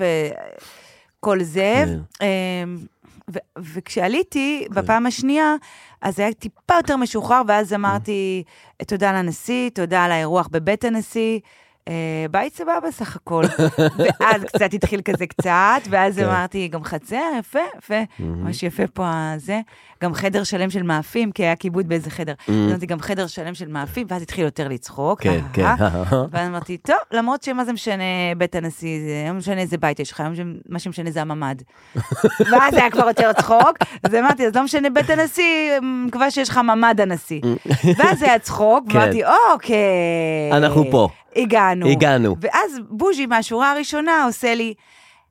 וכל זה. כן. אה, ו- וכשעליתי בפעם השנייה, אז היה טיפה יותר משוחרר, ואז אמרתי, תודה לנשיא, תודה על האירוח בבית הנשיא. אה, בית סבבה סך הכל, ואז קצת התחיל כזה קצת, ואז כן. אמרתי, גם חצר, יפה, יפה, ממש יפה פה הזה, גם חדר שלם של מאפים, כי היה כיבוד באיזה חדר. אז Mhm. אמרתי, גם חדר שלם של מאפים, ואז התחיל יותר לצחוק, כן, אה, כן. אה. ואז אמרתי, טוב, למרות שמה זה משנה בית הנשיא, זה לא משנה איזה בית יש לך, מה שמשנה זה הממ"ד. ואז היה כבר יותר צחוק, אז אמרתי, אז לא משנה בית הנשיא, מקווה שיש לך ממ"ד הנשיא. ואז היה צחוק, כן. ואמרתי, אוקיי. אנחנו פה. הגענו. הגענו. ואז בוז'י מהשורה הראשונה עושה לי,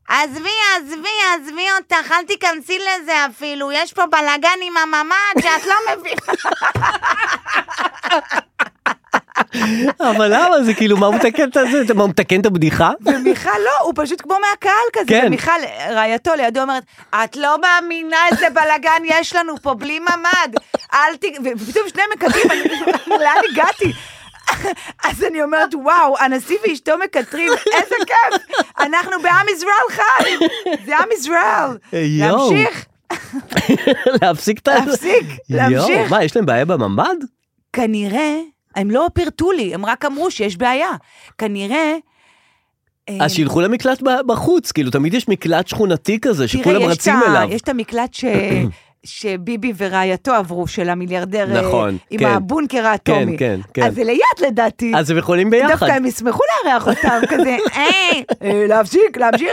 עזבי, עזבי, עזבי אותך, אל תיכנסי לזה אפילו, יש פה בלאגן עם הממ"ד שאת לא מבינה. אבל למה זה כאילו, מה הוא מתקן את הזה? מה הוא מתקן את הבדיחה? ומיכל לא, הוא פשוט כמו מהקהל כזה, כן. ומיכל, רעייתו לידו אומרת, את לא מאמינה איזה בלאגן יש לנו פה, בלי ממ"ד, אל ת... ופתאום שניהם מקטרים, אני- לאן הגעתי? אז אני אומרת, וואו, הנשיא ואשתו מקטרים, איזה כיף, אנחנו בעם ישראל חי, זה עם ישראל. יואו. להמשיך, להפסיק את ה... להפסיק, יואו, להמשיך. מה, יש להם בעיה בממ"ד? כנראה, הם לא פירטו לי, הם רק אמרו שיש בעיה. כנראה... אה, אז שילכו למקלט ב- בחוץ, כאילו, תמיד יש מקלט שכונתי כזה, תראה, שכולם יש רצים את ה- אליו. יש את המקלט ש... שביבי ורעייתו עברו, של המיליארדר, אה, נכון, עם כן. הבונקר האטומי. כן, כן, אז כן. זה ליד לדעתי. אז הם יכולים ביחד. דווקא הם ישמחו לארח אותם, כזה, "היי, אה, להמשיך, להמשיך.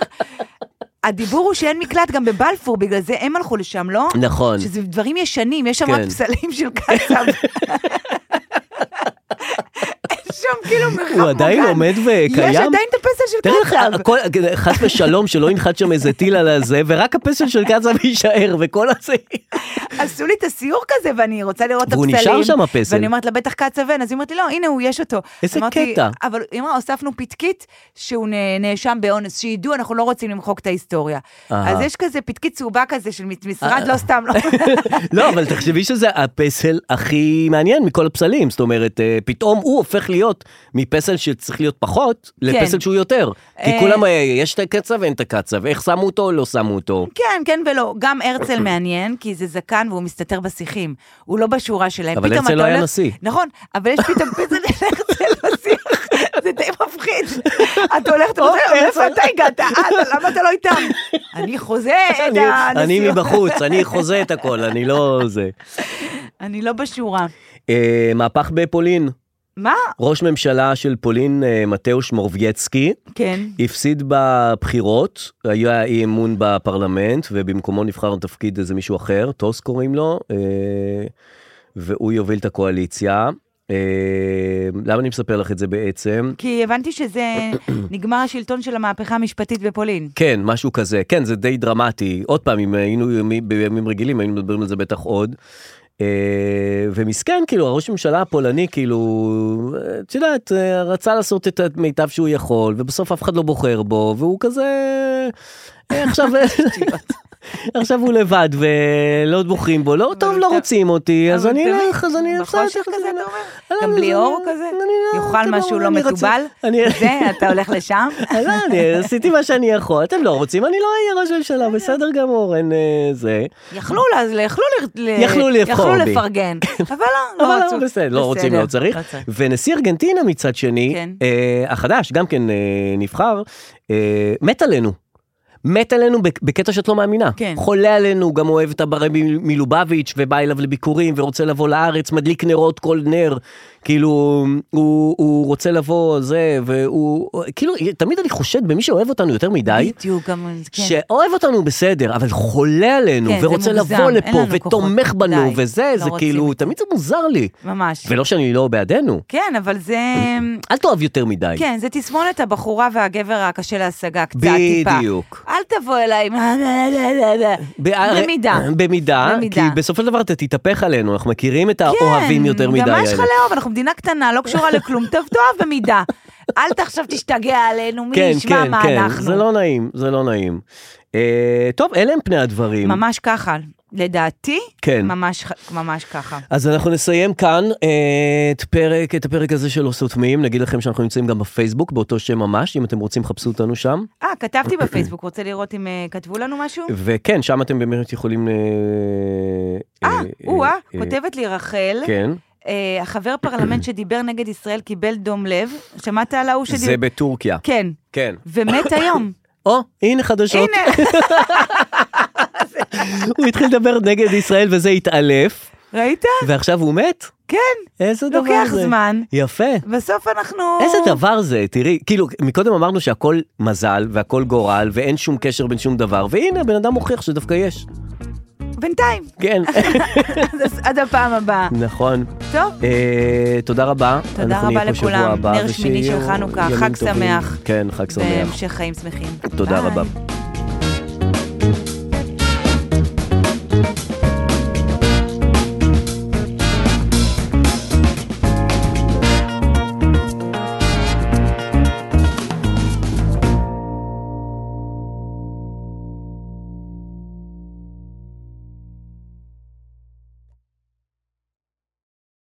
הדיבור הוא שאין מקלט גם בבלפור, בגלל זה הם הלכו לשם, לא? נכון. שזה דברים ישנים, יש שם כן. רק פסלים של קצב. יש שם כאילו מרחב מוגן. הוא עדיין עומד וקיים? יש עדיין את הפסל של תאר לך, קצב. הכל- חס ושלום שלא ינחת שם איזה טיל על הזה, ורק הפסל של קצב יישאר, וכל הזה... עשו לי את הסיור כזה, ואני רוצה לראות את והוא הפסלים. נשאר שם, הפסל. ואני אומרת לה, בטח קצבן, אז היא אומרת לי, לא, הנה הוא, יש אותו. איזה אמרתי, קטע. אבל היא אמרה, הוספנו פתקית שהוא נ- נאשם באונס, שידעו, אנחנו לא רוצים למחוק את ההיסטוריה. אהה. אז יש כזה פתקית צהובה כזה של משרד, אה. לא סתם, לא. לא, אבל תחשבי שזה הפסל הכי מעניין מכל הפסלים. זאת אומרת, אה, פתאום הוא הופך להיות מפסל שצריך להיות פחות, לפסל שהוא יותר. כי כן. אה. כולם, אה, יש את הקצב ואין את הקצב, איך שמו אותו או לא שמו אותו. כן, כן ולא. גם הרצל מעניין, כי זה זקן והוא מסתתר בשיחים. הוא לא בשורה שלהם. אבל פתאום הרצל אתה לא היה הולך- נשיא. נכון, אבל יש פתאום פסל של הרצל בשיח. זה די מפחיד. אתה הולך, אתה או, אומר, איפה הרצל. אתה הגעת? אה, אתה- למה אתה לא איתם? אני חוזה אה, את אני- הנסיעות. אני מבחוץ, אני חוזה את הכל, אני לא זה. אני לא בשורה. אה, מהפך בפולין. מה? ראש ממשלה של פולין, אה, מתאוש מורבייצקי, כן. הפסיד בבחירות, היה אי אמון בפרלמנט, ובמקומו נבחר לתפקיד איזה מישהו אחר, טוס קוראים לו, אה, והוא יוביל את הקואליציה. אה, למה אני מספר לך את זה בעצם? כי הבנתי שזה נגמר השלטון של המהפכה המשפטית בפולין. כן, משהו כזה. כן, זה די דרמטי. עוד פעם, אם היינו ימי- בימים רגילים, היינו מדברים על זה בטח עוד. אה, ומסכן, כאילו, הראש הממשלה הפולני, כאילו, אה, את יודעת, אה, רצה לעשות את המיטב שהוא יכול, ובסוף אף אחד לא בוחר בו, והוא כזה... אה, עכשיו... עכשיו הוא לבד ולא בוחרים בו, לא טוב, לא רוצים אותי, אז אני אלך, אז אני... בחושך כזה, נכון אתה אומר? גם בלי אור כזה? יאכל משהו לא מתובל? זה, אתה הולך לשם? לא, אני עשיתי מה שאני יכול, אתם לא רוצים, אני לא אהיה ראש ממשלה, בסדר גמור, אין אה, זה. יכלו, אז יכלו ל- יכלו לבחור יכלו בי. לפרגן, אבל לא, אבל לא לא, רצו. בסדר, לא רוצים, לא צריך. ונשיא ארגנטינה מצד שני, כן. אה, החדש, גם כן אה, נבחר, אה, מת עלינו. מת עלינו בק- בקטע שאת לא מאמינה. כן. חולה עלינו, גם אוהב את הברי מ- מלובביץ' ובא אליו לביקורים ורוצה לבוא לארץ, מדליק נרות כל נר. כאילו, הוא, הוא רוצה לבוא, זה, והוא, כאילו, תמיד אני חושד במי שאוהב אותנו יותר מדי. בדיוק, גם... כן. שאוהב אותנו בסדר, אבל חולה עלינו, כן, זה ורוצה מוגזם, לבוא אין לפה, לנו כוחות, ותומך בנו, די, וזה, לא זה רוצים כאילו, תמיד זה מוזר לי. ממש. ולא שאני לא בעדנו. כן, אבל זה... אל תאהב יותר מדי. כן, זה תסמונת הבחורה והגבר הקשה להשגה, קצת, טיפה. בדיוק. אל תבוא אליי, מה, מה, מה, מה, מה. במידה. אה, במידה, כי במידה. כן, בסופו של דבר אתה תתהפך עלינו, אנחנו מכירים את האוהבים יותר מדי גם מה יש לך האלה. לאהוב? אנחנו מדינה קטנה, לא קשורה לכלום, תאהב תאהב במידה. אל תחשב תשתגע עלינו, מי כן, ישמע כן, מה כן, אנחנו. זה לא נעים, זה לא נעים. אה, טוב, אלה הם פני הדברים. ממש ככה, לדעתי, כן. ממש ח- ממש ככה. אז אנחנו נסיים כאן אה, את, פרק, את הפרק הזה של לא סותמים, נגיד לכם שאנחנו נמצאים גם בפייסבוק, באותו שם ממש, אם אתם רוצים, חפשו אותנו שם. אה, כתבתי בפייסבוק, רוצה לראות אם אה, כתבו לנו משהו? וכן, שם אתם באמת יכולים... אה, אה, או-אה, אה, כותבת לי רחל. כן. אה, החבר פרלמנט שדיבר נגד ישראל קיבל דום לב, שמעת על ההוא שדיבר? זה בטורקיה. כן. כן. ומת היום. או, הנה חדשות. הנה, הוא התחיל לדבר נגד ישראל וזה התעלף, ראית? ועכשיו הוא מת? כן. איזה דבר לוקח זה. זמן. יפה. בסוף אנחנו... איזה דבר זה, תראי, כאילו, מקודם אמרנו שהכל מזל והכל גורל ואין שום קשר בין שום דבר, והנה הבן אדם הוכיח שדווקא יש. בינתיים. כן, אז עד הפעם הבאה. נכון. טוב. אה, תודה רבה. תודה אנחנו נהיה רבה פה שבוע לכולם. הבא, נר שמיני של ושיהיו חנוכה, ימים חג טובים. שמח. כן, חג שמח. והמשך חיים שמחים. תודה ביי. רבה.